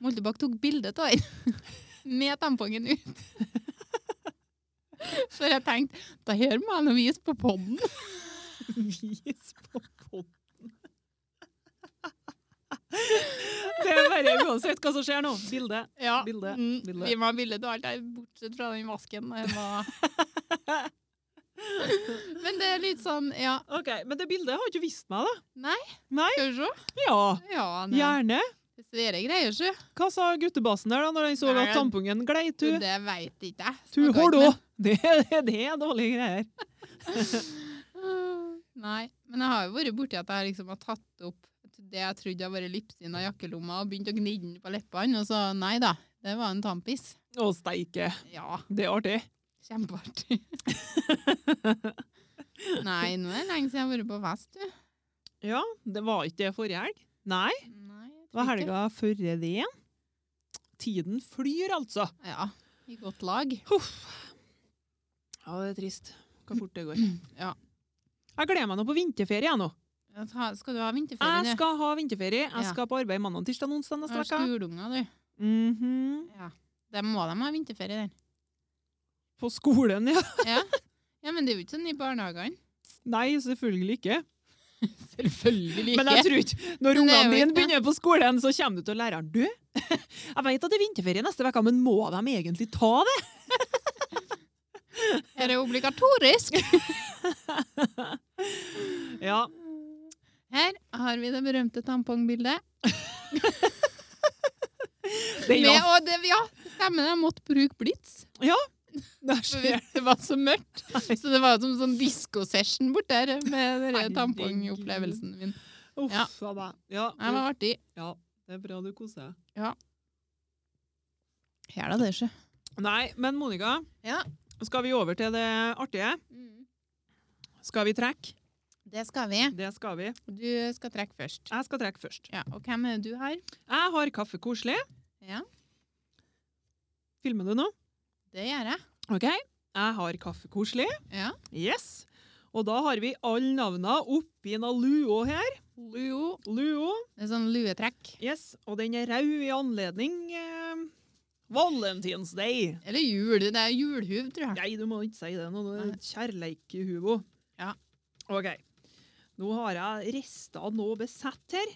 Speaker 1: Moltebakk tok bilde av den med tampongen ut. For jeg tenkte det her må jeg nå vise på poden.
Speaker 2: Vis på potten. Det er bare uansett hva som skjer nå. Bilde.
Speaker 1: Ja.
Speaker 2: Bilde,
Speaker 1: Mm,
Speaker 2: bilde.
Speaker 1: Vi må ha bilde av alt der, bortsett fra den vasken. Den var Men det er litt sånn, ja
Speaker 2: Ok, Men det bildet har ikke visst meg, da.
Speaker 1: Skal vi se?
Speaker 2: Ja,
Speaker 1: Ja, nei.
Speaker 2: Gjerne.
Speaker 1: Det er svære greier, sjø.
Speaker 2: Hva sa guttebasen der da når han så
Speaker 1: Nei,
Speaker 2: at tampungen glei?
Speaker 1: Du,
Speaker 2: Tu,
Speaker 1: det veit ikke jeg.
Speaker 2: tu
Speaker 1: Snakket
Speaker 2: holdo!
Speaker 1: ikke
Speaker 2: Det, det, det er dårlige greier.
Speaker 1: med- Nei, men jeg har jo vært borti at jeg liksom har tatt opp det jeg trodde hadde vært lipsyn av jakkelomma, og begynt å gni den på leppene, og så nei da, det var en tampis.
Speaker 2: Å, steike.
Speaker 1: Ja,
Speaker 2: Det er artig.
Speaker 1: kjempeartig. nei, nå er det lenge siden jeg har vært på fest, du.
Speaker 2: Ja, det var ikke det forrige helg. Nei,
Speaker 1: Nei, jeg
Speaker 2: det var
Speaker 1: tror ikke.
Speaker 2: helga før det igjen. Tiden flyr, altså.
Speaker 1: Ja, i godt lag.
Speaker 2: Ja, det er trist. Hvor fort det går.
Speaker 1: Ja.
Speaker 2: Jeg gleder meg nå på vinterferie jeg, nå.
Speaker 1: Ja, ta- Skal du ha vinterferie,
Speaker 2: Jeg
Speaker 1: du?
Speaker 2: skal ha vinterferie. Jeg
Speaker 1: Ja.
Speaker 2: skal på arbeid mandag, tirsdag, onsdag
Speaker 1: Har
Speaker 2: neste uke.
Speaker 1: skoleunger, du.
Speaker 2: Mhm.
Speaker 1: Ja. Da må de ha vinterferie, den.
Speaker 2: På skolen, ja.
Speaker 1: Ja. ja, men det er jo ikke sånn i barnehagene.
Speaker 2: Nei, selvfølgelig ikke.
Speaker 1: Selvfølgelig
Speaker 2: Men jeg tror ikke Når
Speaker 1: Men det er jo
Speaker 2: ungene dine
Speaker 1: ikke det.
Speaker 2: begynner på skolen, så kommer du til læreren. Du, jeg vet at det er vinterferie neste uke, men må de egentlig ta det?
Speaker 1: Er det obligatorisk?
Speaker 2: Ja.
Speaker 1: Her har vi det berømte tampongbildet.
Speaker 2: Det er
Speaker 1: Med,
Speaker 2: ja.
Speaker 1: og det, ja, det stemmer, jeg måtte bruke blits.
Speaker 2: Der
Speaker 1: for
Speaker 2: ser jeg.
Speaker 1: Det var så mørkt. Så det var som sånn diskosession bort der med den
Speaker 2: Herregud.
Speaker 1: Eh, tampongopplevelsen min.
Speaker 2: Uff
Speaker 1: Ja.
Speaker 2: a meg. Ja.
Speaker 1: Det var artig.
Speaker 2: ja. Det er bra du koser deg.
Speaker 1: Her da, det ikke.
Speaker 2: Nei, men Monica,
Speaker 1: Ja.
Speaker 2: skal vi over til det artige? Skal vi trekke?
Speaker 1: Mm. Det skal vi.
Speaker 2: Det skal vi.
Speaker 1: Du skal trekke først.
Speaker 2: Jeg skal trekke først.
Speaker 1: Ja, og hvem er det du har?
Speaker 2: Jeg har kaffe koselig.
Speaker 1: Ja.
Speaker 2: Filmer du nå?
Speaker 1: Det gjør jeg.
Speaker 2: Ok. Jeg har kaffe koselig.
Speaker 1: Ja.
Speaker 2: Yes. Og da har vi alle navnene oppi en luo her.
Speaker 1: Luo.
Speaker 2: Luo.
Speaker 1: Det er sånn luetrekk.
Speaker 2: Yes. Og den er rød i anledning eh, Valentine's Day.
Speaker 1: Eller jul. Det er julhuv, tror jeg.
Speaker 2: Nei, du må ikke si det nå. Det er kjærleikhubo.
Speaker 1: Ja.
Speaker 2: Ok. Nå har jeg rista noe besett her.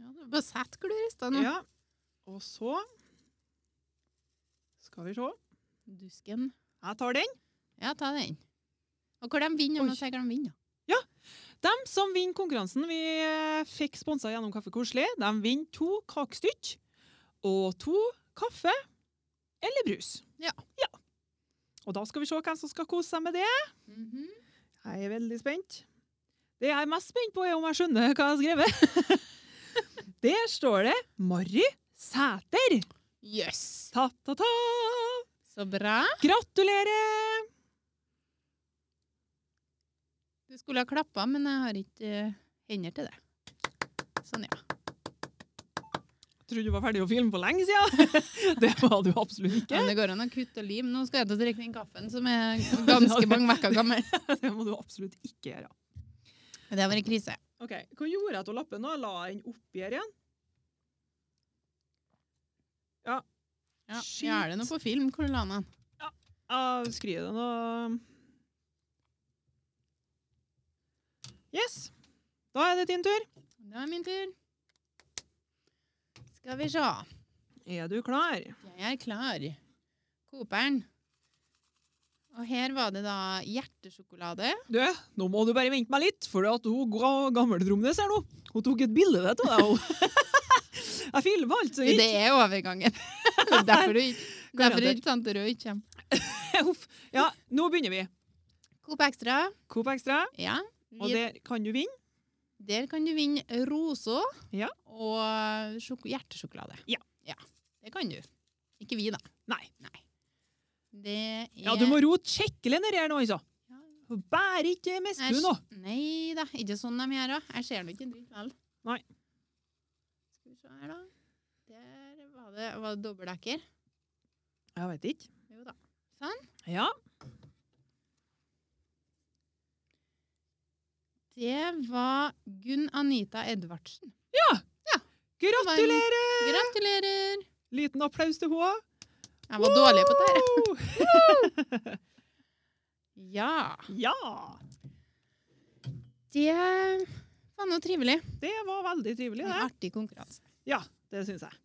Speaker 1: Ja, det er bare sett hvor du rister nå.
Speaker 2: Ja. Og så skal vi se.
Speaker 1: Dusken.
Speaker 2: Jeg tar den.
Speaker 1: Ja, ta den. Og hvor de vinner,
Speaker 2: Oi.
Speaker 1: må du si hvor de vinner.
Speaker 2: Dem som vinner konkurransen vi eh, fikk sponsa gjennom Kaffe Koselig, de vinner to kakestykk og to kaffe eller brus.
Speaker 1: Ja.
Speaker 2: Og da skal vi se hvem som skal kose seg med det.
Speaker 1: Mhm.
Speaker 2: Jeg er veldig spent. Det jeg er mest spent på, er om jeg skjønner hva jeg har skrevet. Der står det Marry Sæter.
Speaker 1: Yes!
Speaker 2: Ta-ta-ta!
Speaker 1: Så bra.
Speaker 2: Gratulerer!
Speaker 1: Du skulle ha klappa, men jeg har ikke eh, hender til det. Sånn, ja.
Speaker 2: Trodde du var ferdig å filme for lenge siden. Det var du absolutt ikke.
Speaker 1: Men det går an å kutte og lim. Nå skal jeg til å drikke den kaffen som er ganske mange uker gammel.
Speaker 2: Det må du absolutt ikke gjøre.
Speaker 1: Det har vært krise.
Speaker 2: Ok, Hva gjorde jeg til lappen nå? La jeg den oppi her igjen?
Speaker 1: Ja,
Speaker 2: Shit.
Speaker 1: Gjør det noe på film? Hvor la han den?
Speaker 2: Jeg skriver den og Yes. Da er det din tur.
Speaker 1: Da er min tur. Skal vi se.
Speaker 2: Er du klar?
Speaker 1: Jeg er klar. Koperen. Og her var det da hjertesjokolade.
Speaker 2: Du, nå må du bare vente meg litt, for at hun ga- gammeltrommes her nå. Hun tok et bilde av deg. hun. Jeg filma altså
Speaker 1: Du, Det
Speaker 2: ikke.
Speaker 1: er overgangen. Det er derfor du ikke, derfor
Speaker 2: Garantert.
Speaker 1: ikke tante Rød ikke kommer.
Speaker 2: Uff. Ja, nå begynner vi.
Speaker 1: Coop Extra.
Speaker 2: Coop Extra,
Speaker 1: Ja.
Speaker 2: og
Speaker 1: vi-
Speaker 2: der kan du vinne.
Speaker 1: Der kan du vinne rosa
Speaker 2: Ja.
Speaker 1: og sjok hjertesjokolade.
Speaker 2: Ja.
Speaker 1: Det kan du. Ikke vi, da.
Speaker 2: Nei.
Speaker 1: Det er
Speaker 2: Ja, du må rote skikkelig nedi her nå, altså.
Speaker 1: Ja.
Speaker 2: Hun bærer ikke mest
Speaker 1: Jeg
Speaker 2: du nå.
Speaker 1: s- Nei da, ikke sånn de gjør òg. Jeg ser nå ikke en dritt vel.
Speaker 2: Nei.
Speaker 1: Skal vi se her, da. Der var det, var det dobbeltdekker.
Speaker 2: Jeg vet ikke.
Speaker 1: Jo da.
Speaker 2: Ja.
Speaker 1: Det var Gunn Anita Edvardsen.
Speaker 2: Gratulerer!
Speaker 1: Gratulerer!
Speaker 2: Liten applaus til henne.
Speaker 1: Jeg var dårlig på det her.
Speaker 2: her.
Speaker 1: Ja.
Speaker 2: Ja.
Speaker 1: Det var nå trivelig.
Speaker 2: Det var veldig trivelig,
Speaker 1: En
Speaker 2: det.
Speaker 1: artig konkurranse.
Speaker 2: Ja, det syns jeg.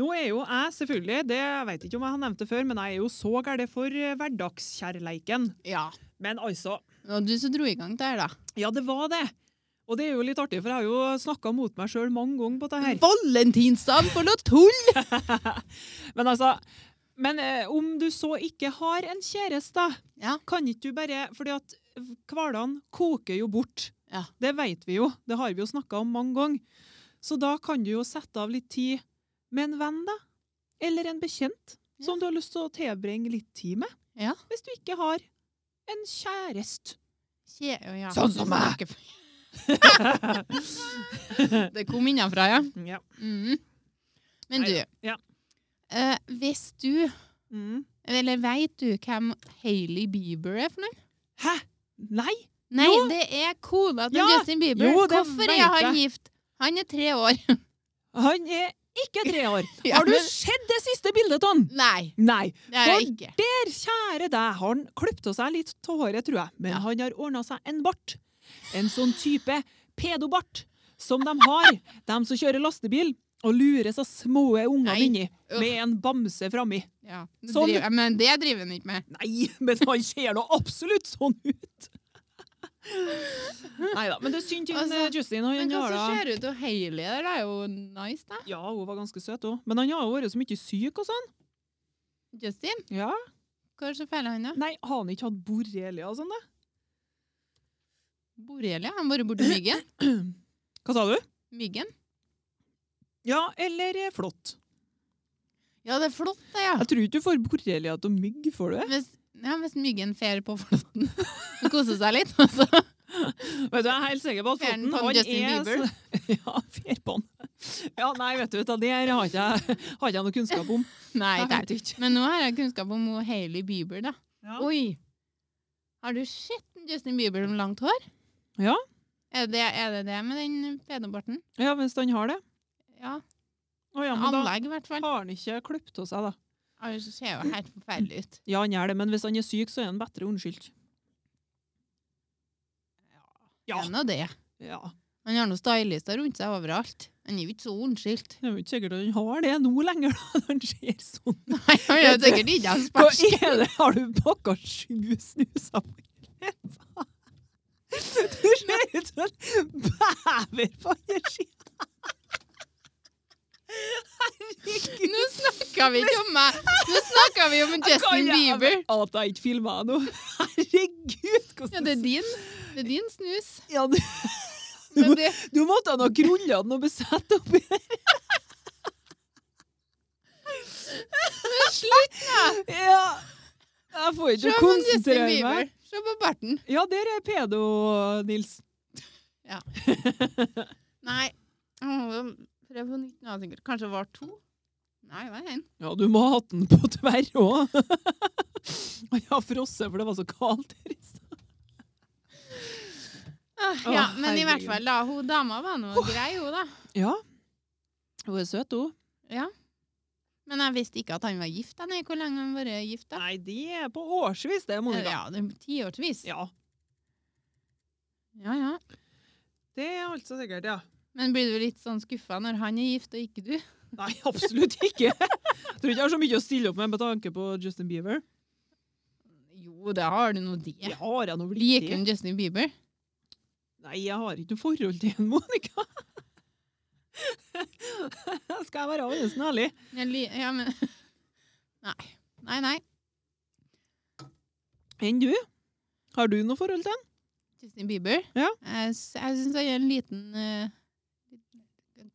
Speaker 2: Nå er jo jeg selvfølgelig, det jeg vet ikke om jeg har nevnt det før, men jeg er jo så gæren for eh, hverdagskjærleiken.
Speaker 1: Ja.
Speaker 2: Men altså,
Speaker 1: Det var du som dro i gang det her, da.
Speaker 2: ja, det var det. Og det er jo litt artig, for jeg har jo snakka mot meg sjøl mange ganger på det her.
Speaker 1: Valentinsdagen, for noe tull!
Speaker 2: Men altså, men eh, om du så ikke har en kjæreste,
Speaker 1: Ja.
Speaker 2: kan ikke du bare Fordi at hverdagen koker jo bort.
Speaker 1: Ja.
Speaker 2: Det vet vi jo. Det har vi jo snakka om mange ganger. Så da kan du jo sette av litt tid med en venn, da. Eller en bekjent
Speaker 1: Ja.
Speaker 2: som du har lyst til å tilbringe litt tid med.
Speaker 1: Ja.
Speaker 2: Hvis du ikke har en kjæreste.
Speaker 1: Kje, å, ja.
Speaker 2: Sånn som meg.
Speaker 1: Det kom innenfra, ja.
Speaker 2: ja.
Speaker 1: Mhm. Men du,
Speaker 2: Neida. Ja.
Speaker 1: eh, hvis du,
Speaker 2: Mm.
Speaker 1: eller vet du hvem Hailey Bieber er for noe?
Speaker 2: Hæ? Nei?
Speaker 1: Nei,
Speaker 2: Jo.
Speaker 1: det er kona til
Speaker 2: Ja.
Speaker 1: Justin Bieber.
Speaker 2: Jo, det
Speaker 1: Hvorfor
Speaker 2: vet
Speaker 1: er han
Speaker 2: jeg.
Speaker 1: gift? Han er tre år.
Speaker 2: Han er ikke tre år.
Speaker 1: Ja,
Speaker 2: Har du
Speaker 1: men-
Speaker 2: sett det siste bildet av han?
Speaker 1: Nei,
Speaker 2: Nei.
Speaker 1: det er jeg
Speaker 2: For
Speaker 1: ikke.
Speaker 2: Der, kjære deg, har han klippet av seg litt av håret, tror jeg. Men
Speaker 1: Ja.
Speaker 2: han har ordna seg en bart. En sånn type pedobart som de har, de som kjører lastebil og lurer så små ungene
Speaker 1: Nei.
Speaker 2: inni
Speaker 1: Uff.
Speaker 2: med en bamse frami.
Speaker 1: Ja. det
Speaker 2: Sånn.
Speaker 1: Driver, men det driver han ikke med.
Speaker 2: Nei, men han ser nå absolutt sånn ut! Nei da. Men det er synd til
Speaker 1: Altså,
Speaker 2: eh, Justin. Han,
Speaker 1: Men hva
Speaker 2: har
Speaker 1: som
Speaker 2: da-
Speaker 1: skjer ut av Hailey der, det er jo nice, da.
Speaker 2: Ja, hun var ganske søt òg. Men han har jo vært så mye syk og sånn.
Speaker 1: Justin,
Speaker 2: Ja.
Speaker 1: hva er det som feiler han, da?
Speaker 2: Nei, har han ikke hatt borrelia og sånn, da?
Speaker 1: Borrelia? Han bare borte i myggen?
Speaker 2: Hva sa du?
Speaker 1: Myggen?
Speaker 2: Ja, eller eh, flått.
Speaker 1: Ja, det er flott, det, ja.
Speaker 2: Jeg tror ikke du får borrelia av mygg, får du det?
Speaker 1: Hvis, ja, hvis myggen fer på flåtten og koser seg litt. Altså.
Speaker 2: Vet du, Jeg er helt sikker på at
Speaker 1: Fer den
Speaker 2: foten
Speaker 1: på
Speaker 2: han
Speaker 1: Justin
Speaker 2: er
Speaker 1: Bieber?
Speaker 2: så- Ja, fer på han. Ja, nei, vet du, vet du, det her har ikke jeg har ikke jeg noe kunnskap om.
Speaker 1: Nei,
Speaker 2: Jeg
Speaker 1: det
Speaker 2: vet ikke.
Speaker 1: Men nå har jeg kunnskap om hun Hailey Bieber, da.
Speaker 2: Ja.
Speaker 1: Oi! Har du sett den Justin Bieber med langt hår?
Speaker 2: Ja.
Speaker 1: Er det er det, det med den pedobarten?
Speaker 2: Ja, hvis han har det.
Speaker 1: Ja.
Speaker 2: Å ja, men da
Speaker 1: Anlegg, i hvert fall.
Speaker 2: har han ikke klippet av seg, da.
Speaker 1: Han ser jo helt forferdelig ut.
Speaker 2: Ja, han gjør det, men hvis han er syk, så er han bedre unnskyldt. Ja.
Speaker 1: Det er nå det.
Speaker 2: ja.
Speaker 1: Han har noen stylister rundt seg overalt. Han er jo ikke så ondskyldt.
Speaker 2: Det er jo ikke sikkert at han har det nå lenger, da. når Han ser sånn
Speaker 1: Nei, han er jo sikkert ikke en
Speaker 2: Hva
Speaker 1: spark.
Speaker 2: er det? Har du pakka sju snuser? Du ser ut som en bever på andre sida. Herregud.
Speaker 1: Nå snakka vi ikke om meg! Nå snakka vi om Justin Bieber!
Speaker 2: At jeg ikke filma nå. Herregud,
Speaker 1: Ja,
Speaker 2: hvordan
Speaker 1: det er din. Det er din snus.
Speaker 2: Ja, du,
Speaker 1: Men det,
Speaker 2: du måtte ha noe kruller den og besette oppi der.
Speaker 1: men slutt!
Speaker 2: Ja. Jeg får
Speaker 1: Se
Speaker 2: ikke
Speaker 1: på Justin
Speaker 2: konsentrere
Speaker 1: Bieber.
Speaker 2: meg.
Speaker 1: Se på barten.
Speaker 2: Ja, der er pedo-Nils.
Speaker 1: Nei. jeg må Prøv på nytt nå, sikkert. Kanskje det var to? Nei, det var én.
Speaker 2: Ja, du må ha hatt den på tverr òg. Jeg har frosset, for det var så kaldt her i stad.
Speaker 1: Ja,
Speaker 2: Å,
Speaker 1: men i hvert
Speaker 2: herregud.
Speaker 1: fall, da. Hun dama var nå grei, hun, da.
Speaker 2: Ja. Hun er søt, hun.
Speaker 1: Men jeg visste ikke at han var gift. da. Nei, Hvor lenge har han vært gift, da?
Speaker 2: Nei, de er på årsvis, det, Monica.
Speaker 1: Ja, det er Tiårsvis?
Speaker 2: Ja.
Speaker 1: Ja, ja.
Speaker 2: Det er altså sikkert, ja.
Speaker 1: Men blir du litt sånn skuffa når han er gift og ikke du?
Speaker 2: Nei, absolutt ikke. Jeg tror ikke jeg har så mye å stille opp med med tanke på Justin Bieber.
Speaker 1: Jo, det har du nå det.
Speaker 2: Jeg har jeg noe
Speaker 1: Liker
Speaker 2: viktig?
Speaker 1: hun Justin Bieber?
Speaker 2: Nei, jeg har ikke noe forhold til en Monica. Skal jeg være avgjørelsen ærlig?
Speaker 1: Jeg li ja, men Nei. Nei, nei.
Speaker 2: Enn du? Har du noe forhold til en?
Speaker 1: Justin Bieber?
Speaker 2: Ja.
Speaker 1: Jeg, s- jeg syns han er en liten eh,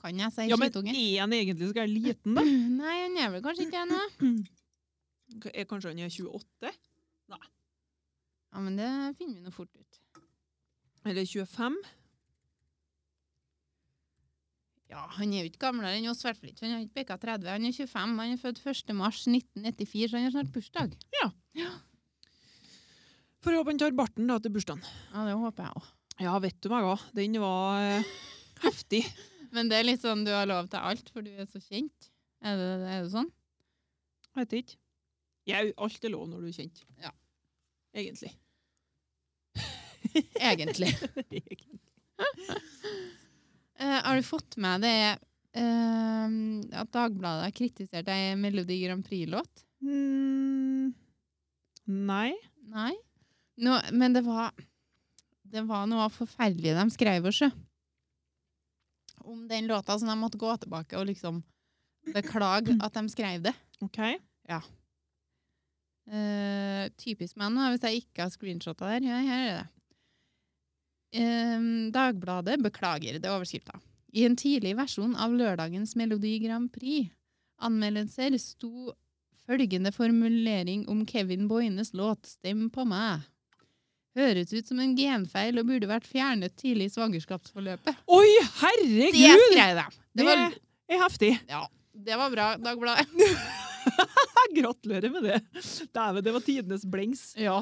Speaker 1: Kan jeg si
Speaker 2: Ja, men
Speaker 1: skittunge?
Speaker 2: er han egentlig så gæren liten, da?
Speaker 1: Nei, han er vel kanskje ikke ennå.
Speaker 2: K- Er kanskje han er 28?
Speaker 1: Ja, men det finner vi nå fort ut.
Speaker 2: Eller 25?
Speaker 1: Ja, Han er jo ikke gamlere enn oss, i hvert fall ikke. Han har ikke bikka 30. Han er 25. Han er født 1. mars 1994, så han har snart bursdag.
Speaker 2: Får håpe han tar barten da til bursdagen.
Speaker 1: Ja, det håper jeg òg.
Speaker 2: Ja, vet du meg hva. Den var eh, heftig.
Speaker 1: Men det er litt sånn du har lov til alt, for du er så kjent. Er det, er det sånn?
Speaker 2: Vet ikke. Jeg, alt er lov når du er kjent.
Speaker 1: Ja.
Speaker 2: Egentlig.
Speaker 1: Egentlig. Eh, har du fått med det eh, at Dagbladet har kritisert ei Melodi Grand Prix-låt?
Speaker 2: Mm, nei.
Speaker 1: Nei. Nå, men det var, det var noe forferdelig de skrev oss, sjø. Om den låta, så de måtte gå tilbake og liksom beklage at de skrev det.
Speaker 2: Ok.
Speaker 1: Eh, typisk meg nå, hvis jeg ikke har screenshotta der. Ja, her er det. Ehm, Dagbladet beklager, det er overskrifta. I en tidlig versjon av lørdagens Melodi Grand Prix anmeldelser sto følgende formulering om Kevin Boines låt 'Stem på meg'. Høres ut som en genfeil og burde vært fjernet tidlig i svangerskapsforløpet.
Speaker 2: Oi,
Speaker 1: Det
Speaker 2: herregud!
Speaker 1: skrev de! Det var,
Speaker 2: Det er heftig.
Speaker 1: det var bra, Dagbladet.
Speaker 2: Gratulerer med det. Dæven, det var tidenes blengs.
Speaker 1: Ja.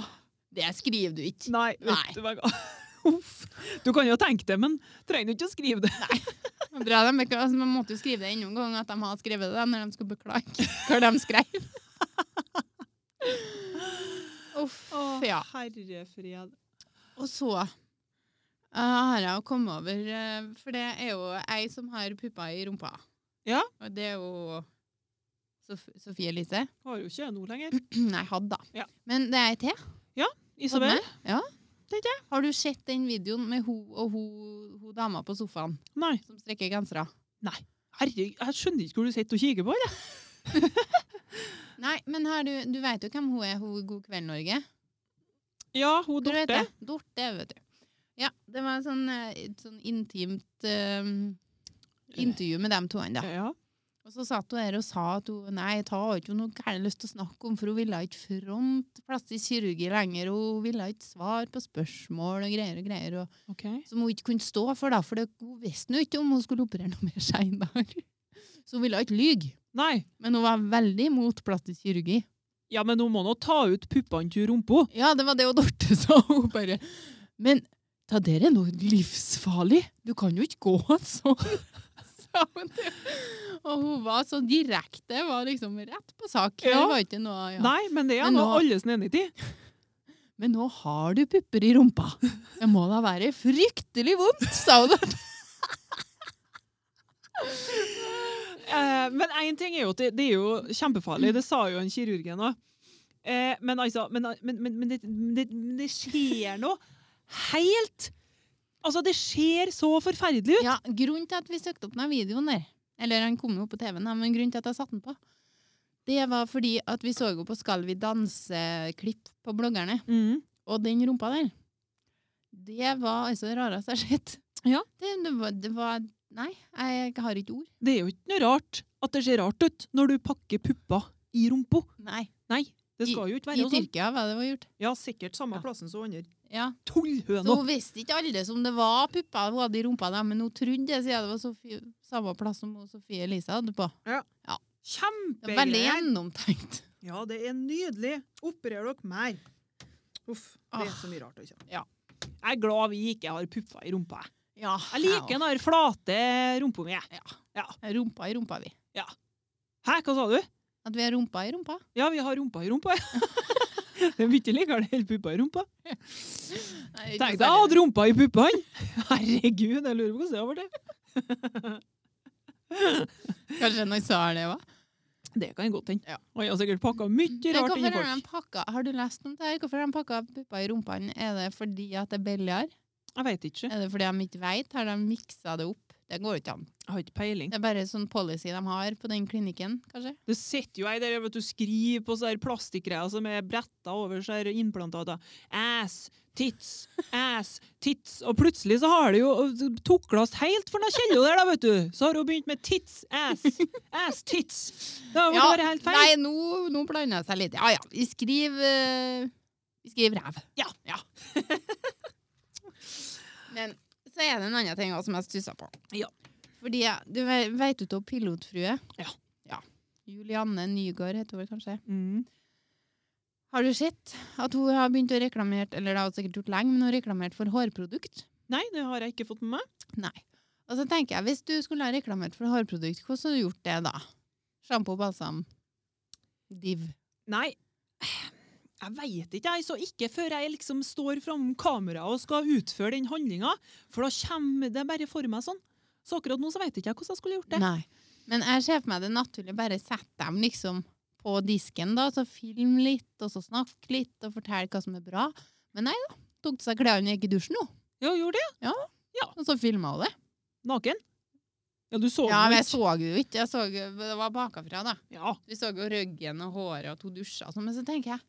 Speaker 1: Det skriver du ikke.
Speaker 2: Nei,
Speaker 1: Nei.
Speaker 2: vet du hva. Uff. Du kan jo tenke det, men trenger du ikke å skrive det.
Speaker 1: Bra, de, bekla- altså, man måtte jo skrive det enda en gang at de hadde skrevet det da, når de skulle beklage hva de skrev. Uff, ja.
Speaker 2: herre fred.
Speaker 1: Og så eh, har jeg jo kommet over eh, For det er jo ei som har pupper i rumpa.
Speaker 2: Ja.
Speaker 1: Og det er jo Sof Sofie Elise.
Speaker 2: Har jo ikke jeg noe lenger.
Speaker 1: Nei, hadde, da.
Speaker 2: Ja.
Speaker 1: Men det er ei til.
Speaker 2: Isabel?
Speaker 1: Har du sett den videoen med hun og hun, hun dama på sofaen
Speaker 2: Nei.
Speaker 1: som strekker gensere?
Speaker 2: Herregud, jeg skjønner ikke hvor du sitter og kikker på. Eller?
Speaker 1: Nei, men har du, du veit jo hvem hun er, hun i God kveld, Norge?
Speaker 2: Ja, hun
Speaker 1: Du vet
Speaker 2: Dorte.
Speaker 1: det. Dorte, vet du. Ja, det var en sånn, eh, et sånn intimt eh, intervju med dem to. Da.
Speaker 2: Ja.
Speaker 1: Og så satt hun her og sa at hun nei, ta har ikke hun noe gærent lyst til å snakke om, for hun ville ikke fronte plastisk kirurgi lenger. og Hun ville ikke svare på spørsmål og greier og greier. Og,
Speaker 2: Ok.
Speaker 1: som hun ikke kunne stå for, da, for det, hun visste jo ikke om hun skulle operere noe mer seinere. Så hun ville ikke lyge.
Speaker 2: Nei.
Speaker 1: Men hun var veldig imot plastisk kirurgi.
Speaker 2: Ja, men hun må nå ta ut puppene til rumpa.
Speaker 1: Ja, det var det og Dorte sa. Hun bare Men ta dere noe livsfarlig. Du kan jo ikke gå sånn. sa hun til- Og hun var så direkte. Var liksom rett på sak.
Speaker 2: Ja.
Speaker 1: Det var ikke noe ja.
Speaker 2: Nei, men det er
Speaker 1: Men
Speaker 2: nå
Speaker 1: nå-
Speaker 2: alles enig i.
Speaker 1: Men nå har du pupper i rumpa. Det må da være fryktelig vondt, sa hun.
Speaker 2: Eh, men én ting er jo at det, det er jo kjempefarlig, det sa jo en kirurgen òg. Eh, men altså men, men, men, men, det, men det, men det skjer noe helt Altså, det ser så forferdelig ut!
Speaker 1: Ja, grunnen til at vi søkte opp den videoen der, eller han kom jo på TV-en, da, men grunnen til at jeg satte den på, det var fordi at vi så jo på Skal vi danse-klipp på bloggerne.
Speaker 2: Mm.
Speaker 1: Og den rumpa der, det var altså det rareste jeg har sett.
Speaker 2: Ja.
Speaker 1: Det, det, var, det var Nei, jeg har ikke ord.
Speaker 2: Det er jo ikke noe rart at det ser rart ut når du pakker pupper i rumpa.
Speaker 1: Nei.
Speaker 2: Nei, det
Speaker 1: I-
Speaker 2: skal jo ikke
Speaker 1: I
Speaker 2: være sånn.
Speaker 1: Tyrkia var det hun gjort.
Speaker 2: Ja, sikkert samme
Speaker 1: Ja.
Speaker 2: plassen som andre
Speaker 1: Ja. Så
Speaker 2: tullhøna.
Speaker 1: hun visste ikke alle som det var pupper hun hadde i rumpa, da, men hun trodde det siden det var Sofie, samme plass som hun Sofie Elise hadde på. Det var veldig
Speaker 2: Kjempegreier!
Speaker 1: gjennomtenkt.
Speaker 2: Ja, det er nydelig. Operer dere mer? Uff, det er
Speaker 1: Ah.
Speaker 2: så mye rart å kjenne.
Speaker 1: Ja.
Speaker 2: Jeg er glad vi ikke har pupper i rumpa. jeg.
Speaker 1: Ja,
Speaker 2: Jeg liker den der flate rumpa mi. jeg.
Speaker 1: Rumpa i rumpa, vi.
Speaker 2: Hæ, hva sa du?
Speaker 1: At vi har rumpa i rumpa.
Speaker 2: Ja, vi har rumpa i rumpa. ja. Det er mye likere enn puppa i rumpa.
Speaker 1: Nei, ikke
Speaker 2: Tenk deg å
Speaker 1: særlig.
Speaker 2: ha rumpa i puppene! Herregud, jeg lurer på hvordan det har vært.
Speaker 1: Kanskje noen sa det òg?
Speaker 2: Det kan godt hende.
Speaker 1: Ja.
Speaker 2: Og jeg har sikkert pakka mye rart inn i
Speaker 1: Hvorfor har de
Speaker 2: folk.
Speaker 1: pakka Har du lest om det her? Hvorfor har de pakka pupper i rumpene? Er det fordi at det er billigere?
Speaker 2: Jeg vet ikke.
Speaker 1: Er det fordi de ikke vet? Har de miksa det opp? Det går jo ikke an.
Speaker 2: Jeg har ikke peiling.
Speaker 1: Det er bare sånn policy de har på den klinikken, kanskje.
Speaker 2: Det sitter jo ei der vet du, skriver på sånne her plastikkgreier som er bretta over så her implantater. Ass, tits, ass, tits. Og plutselig så har det jo tukles helt for noe kjello der, da, vet du. Så har hun begynt med tits, ass, ass, tits. Det har jo
Speaker 1: Ja,
Speaker 2: vært helt feil.
Speaker 1: Nei, nå, nå blander jeg seg litt. Ja ja, vi skriver eh, Vi skriver ræv.
Speaker 2: Ja.
Speaker 1: Men så er det en annen ting også som jeg stussa på.
Speaker 2: Ja.
Speaker 1: Fordi eh, du ve- vet du om pilotfrue?
Speaker 2: Ja.
Speaker 1: ja. Julianne Nygaard heter hun vel kanskje.
Speaker 2: Mm.
Speaker 1: Har du sett at hun har begynt å reklamere Eller det har hun sikkert gjort lenge, men hun har reklamert for hårprodukt?
Speaker 2: Nei, det har jeg ikke fått med meg.
Speaker 1: Nei. Og så tenker jeg, Hvis du skulle ha reklamert for hårprodukt, hvordan hadde du gjort det da? Sjampo, balsam, div.
Speaker 2: Nei. Jeg veit ikke, jeg. Så ikke før jeg liksom står framom kameraet og skal utføre den handlinga. For da kommer det bare for meg sånn. Så akkurat nå så veit ikke jeg hvordan jeg skulle gjort det.
Speaker 1: Nei. Men jeg ser for meg det naturlig. Bare sett dem liksom på disken, da, så film litt, og så snakk litt, og fortell hva som er bra. Men nei da. Tok til seg klærne og gikk i dusjen, hun.
Speaker 2: Ja, gjorde det?
Speaker 1: Og så filma hun det.
Speaker 2: Naken? Ja, du så
Speaker 1: Ja,
Speaker 2: den
Speaker 1: men jeg
Speaker 2: jo ikke.
Speaker 1: så det jo ikke. Jeg så, det var bakafra, da.
Speaker 2: Ja.
Speaker 1: Vi så jo ryggen og håret og to dusjer og sånn, men så tenker jeg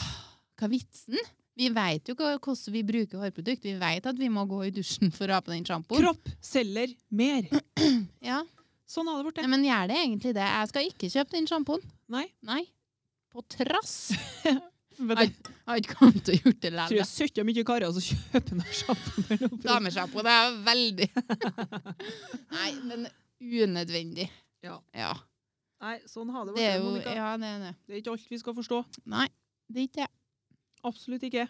Speaker 1: Hva er vitsen? Vi vet jo hva- hvordan vi bruker hårprodukt. Vi vet at vi må gå i dusjen for å ha på den sjampoen.
Speaker 2: Kropp selger mer.
Speaker 1: Ja.
Speaker 2: Sånn har det blitt.
Speaker 1: Nei, Men gjør det egentlig det? Jeg skal ikke kjøpe den sjampoen.
Speaker 2: Nei.
Speaker 1: Nei. På trass.
Speaker 2: Vet
Speaker 1: Nei,
Speaker 2: du,
Speaker 1: Jeg har ikke kommet til å gjøre det
Speaker 2: jeg tror
Speaker 1: likevel.
Speaker 2: jeg søkker mye karer som kjøper noe sjampo. mellom bro-
Speaker 1: Damesjampo, det er veldig Nei, men unødvendig.
Speaker 2: Ja.
Speaker 1: ja.
Speaker 2: Nei, sånn har det
Speaker 1: Det er
Speaker 2: blitt.
Speaker 1: jo
Speaker 2: Monica.
Speaker 1: Ja, det er det.
Speaker 2: Det er ikke alt vi skal forstå.
Speaker 1: Nei, det er ikke det.
Speaker 2: Absolutt ikke.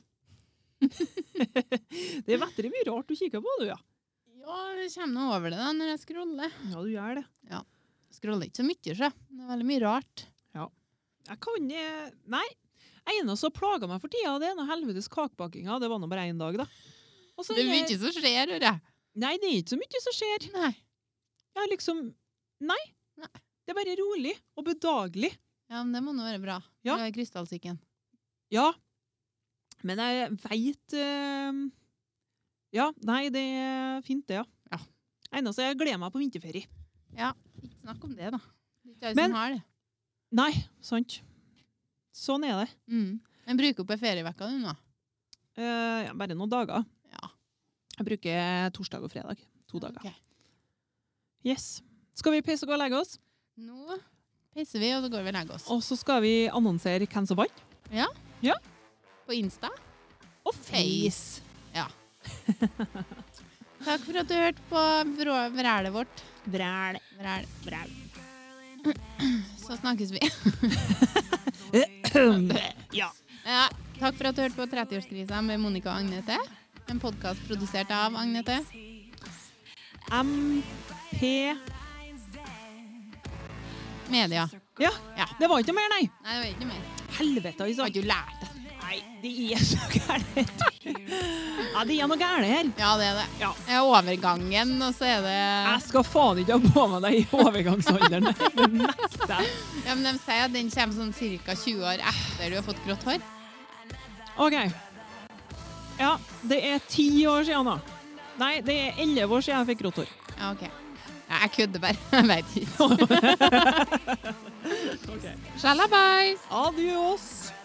Speaker 2: det er veldig mye rart du kikker på, du, ja.
Speaker 1: Ja, jeg kommer nå over det da når jeg scroller.
Speaker 2: Ja, du gjør det.
Speaker 1: Scroller ikke så mye, sjø. Det er veldig mye rart.
Speaker 2: Jeg kan eh, Nei. Ene som plaga meg for tida, det er noe helvetes kakebakinga. Det var nå bare én dag, da. Og så
Speaker 1: Det er
Speaker 2: er-
Speaker 1: mye som skjer, hører jeg.
Speaker 2: Nei, det er ikke så mye som skjer.
Speaker 1: Nei.
Speaker 2: Jeg har liksom Nei.
Speaker 1: Nei.
Speaker 2: Det er bare rolig og bedagelig.
Speaker 1: Ja, men det må nå være bra.
Speaker 2: Ja.
Speaker 1: Det er krystallsyken.
Speaker 2: Ja. Men jeg veit Ja, nei, det er fint, det, ja.
Speaker 1: Ja.
Speaker 2: Eneste jeg gleder meg på vinterferie.
Speaker 1: Ikke snakk om det, da. Det er ikke alle
Speaker 2: Men-
Speaker 1: som har det.
Speaker 2: Nei, sant. Sånn er det.
Speaker 1: Mm. Men bruk opp ei ferievekka du, nå.
Speaker 2: Eh, ja, bare noen dager.
Speaker 1: Ja.
Speaker 2: Jeg bruker torsdag og fredag. To
Speaker 1: Ja,
Speaker 2: dager.
Speaker 1: ok.
Speaker 2: Yes. Skal vi pisse og gå og legge oss?
Speaker 1: Nå pisser vi, og så går vi og legger oss.
Speaker 2: Og så skal vi annonsere hvem som vant.
Speaker 1: På Insta.
Speaker 2: Og face!
Speaker 1: Takk for at du hørte på vrå- vrælet vårt.
Speaker 2: Vræl.
Speaker 1: Vræl.
Speaker 2: Vræl.
Speaker 1: Så snakkes vi.
Speaker 2: ja.
Speaker 1: Ja, takk for at du hørte på 30-årskrisa med Monica og Agnete. En podkast produsert av Agnete.
Speaker 2: MP
Speaker 1: Media.
Speaker 2: Ja.
Speaker 1: Ja.
Speaker 2: Det var ikke mer, nei!
Speaker 1: Nei, det var ikke mer.
Speaker 2: Helvete,
Speaker 1: Du
Speaker 2: altså.
Speaker 1: har ikke lært det.
Speaker 2: Nei, det er så gærent. Ja, det er noe gærent her.
Speaker 1: Ja, det er det.
Speaker 2: Ja.
Speaker 1: Det er overgangen, og så er det
Speaker 2: Jeg skal faen ikke ha på meg deg i overgangsalderen. Det nekter jeg.
Speaker 1: Ja, men De sier at den kommer sånn ca. 20 år etter du har fått grått hår.
Speaker 2: OK. Ja, det er ti år siden, da. Nei, det er elleve år siden jeg fikk grått hår.
Speaker 1: Ja, OK. Ja, jeg kødder bare. Jeg veit ikke.
Speaker 2: Okay.
Speaker 1: Sjalabais!
Speaker 2: Adios!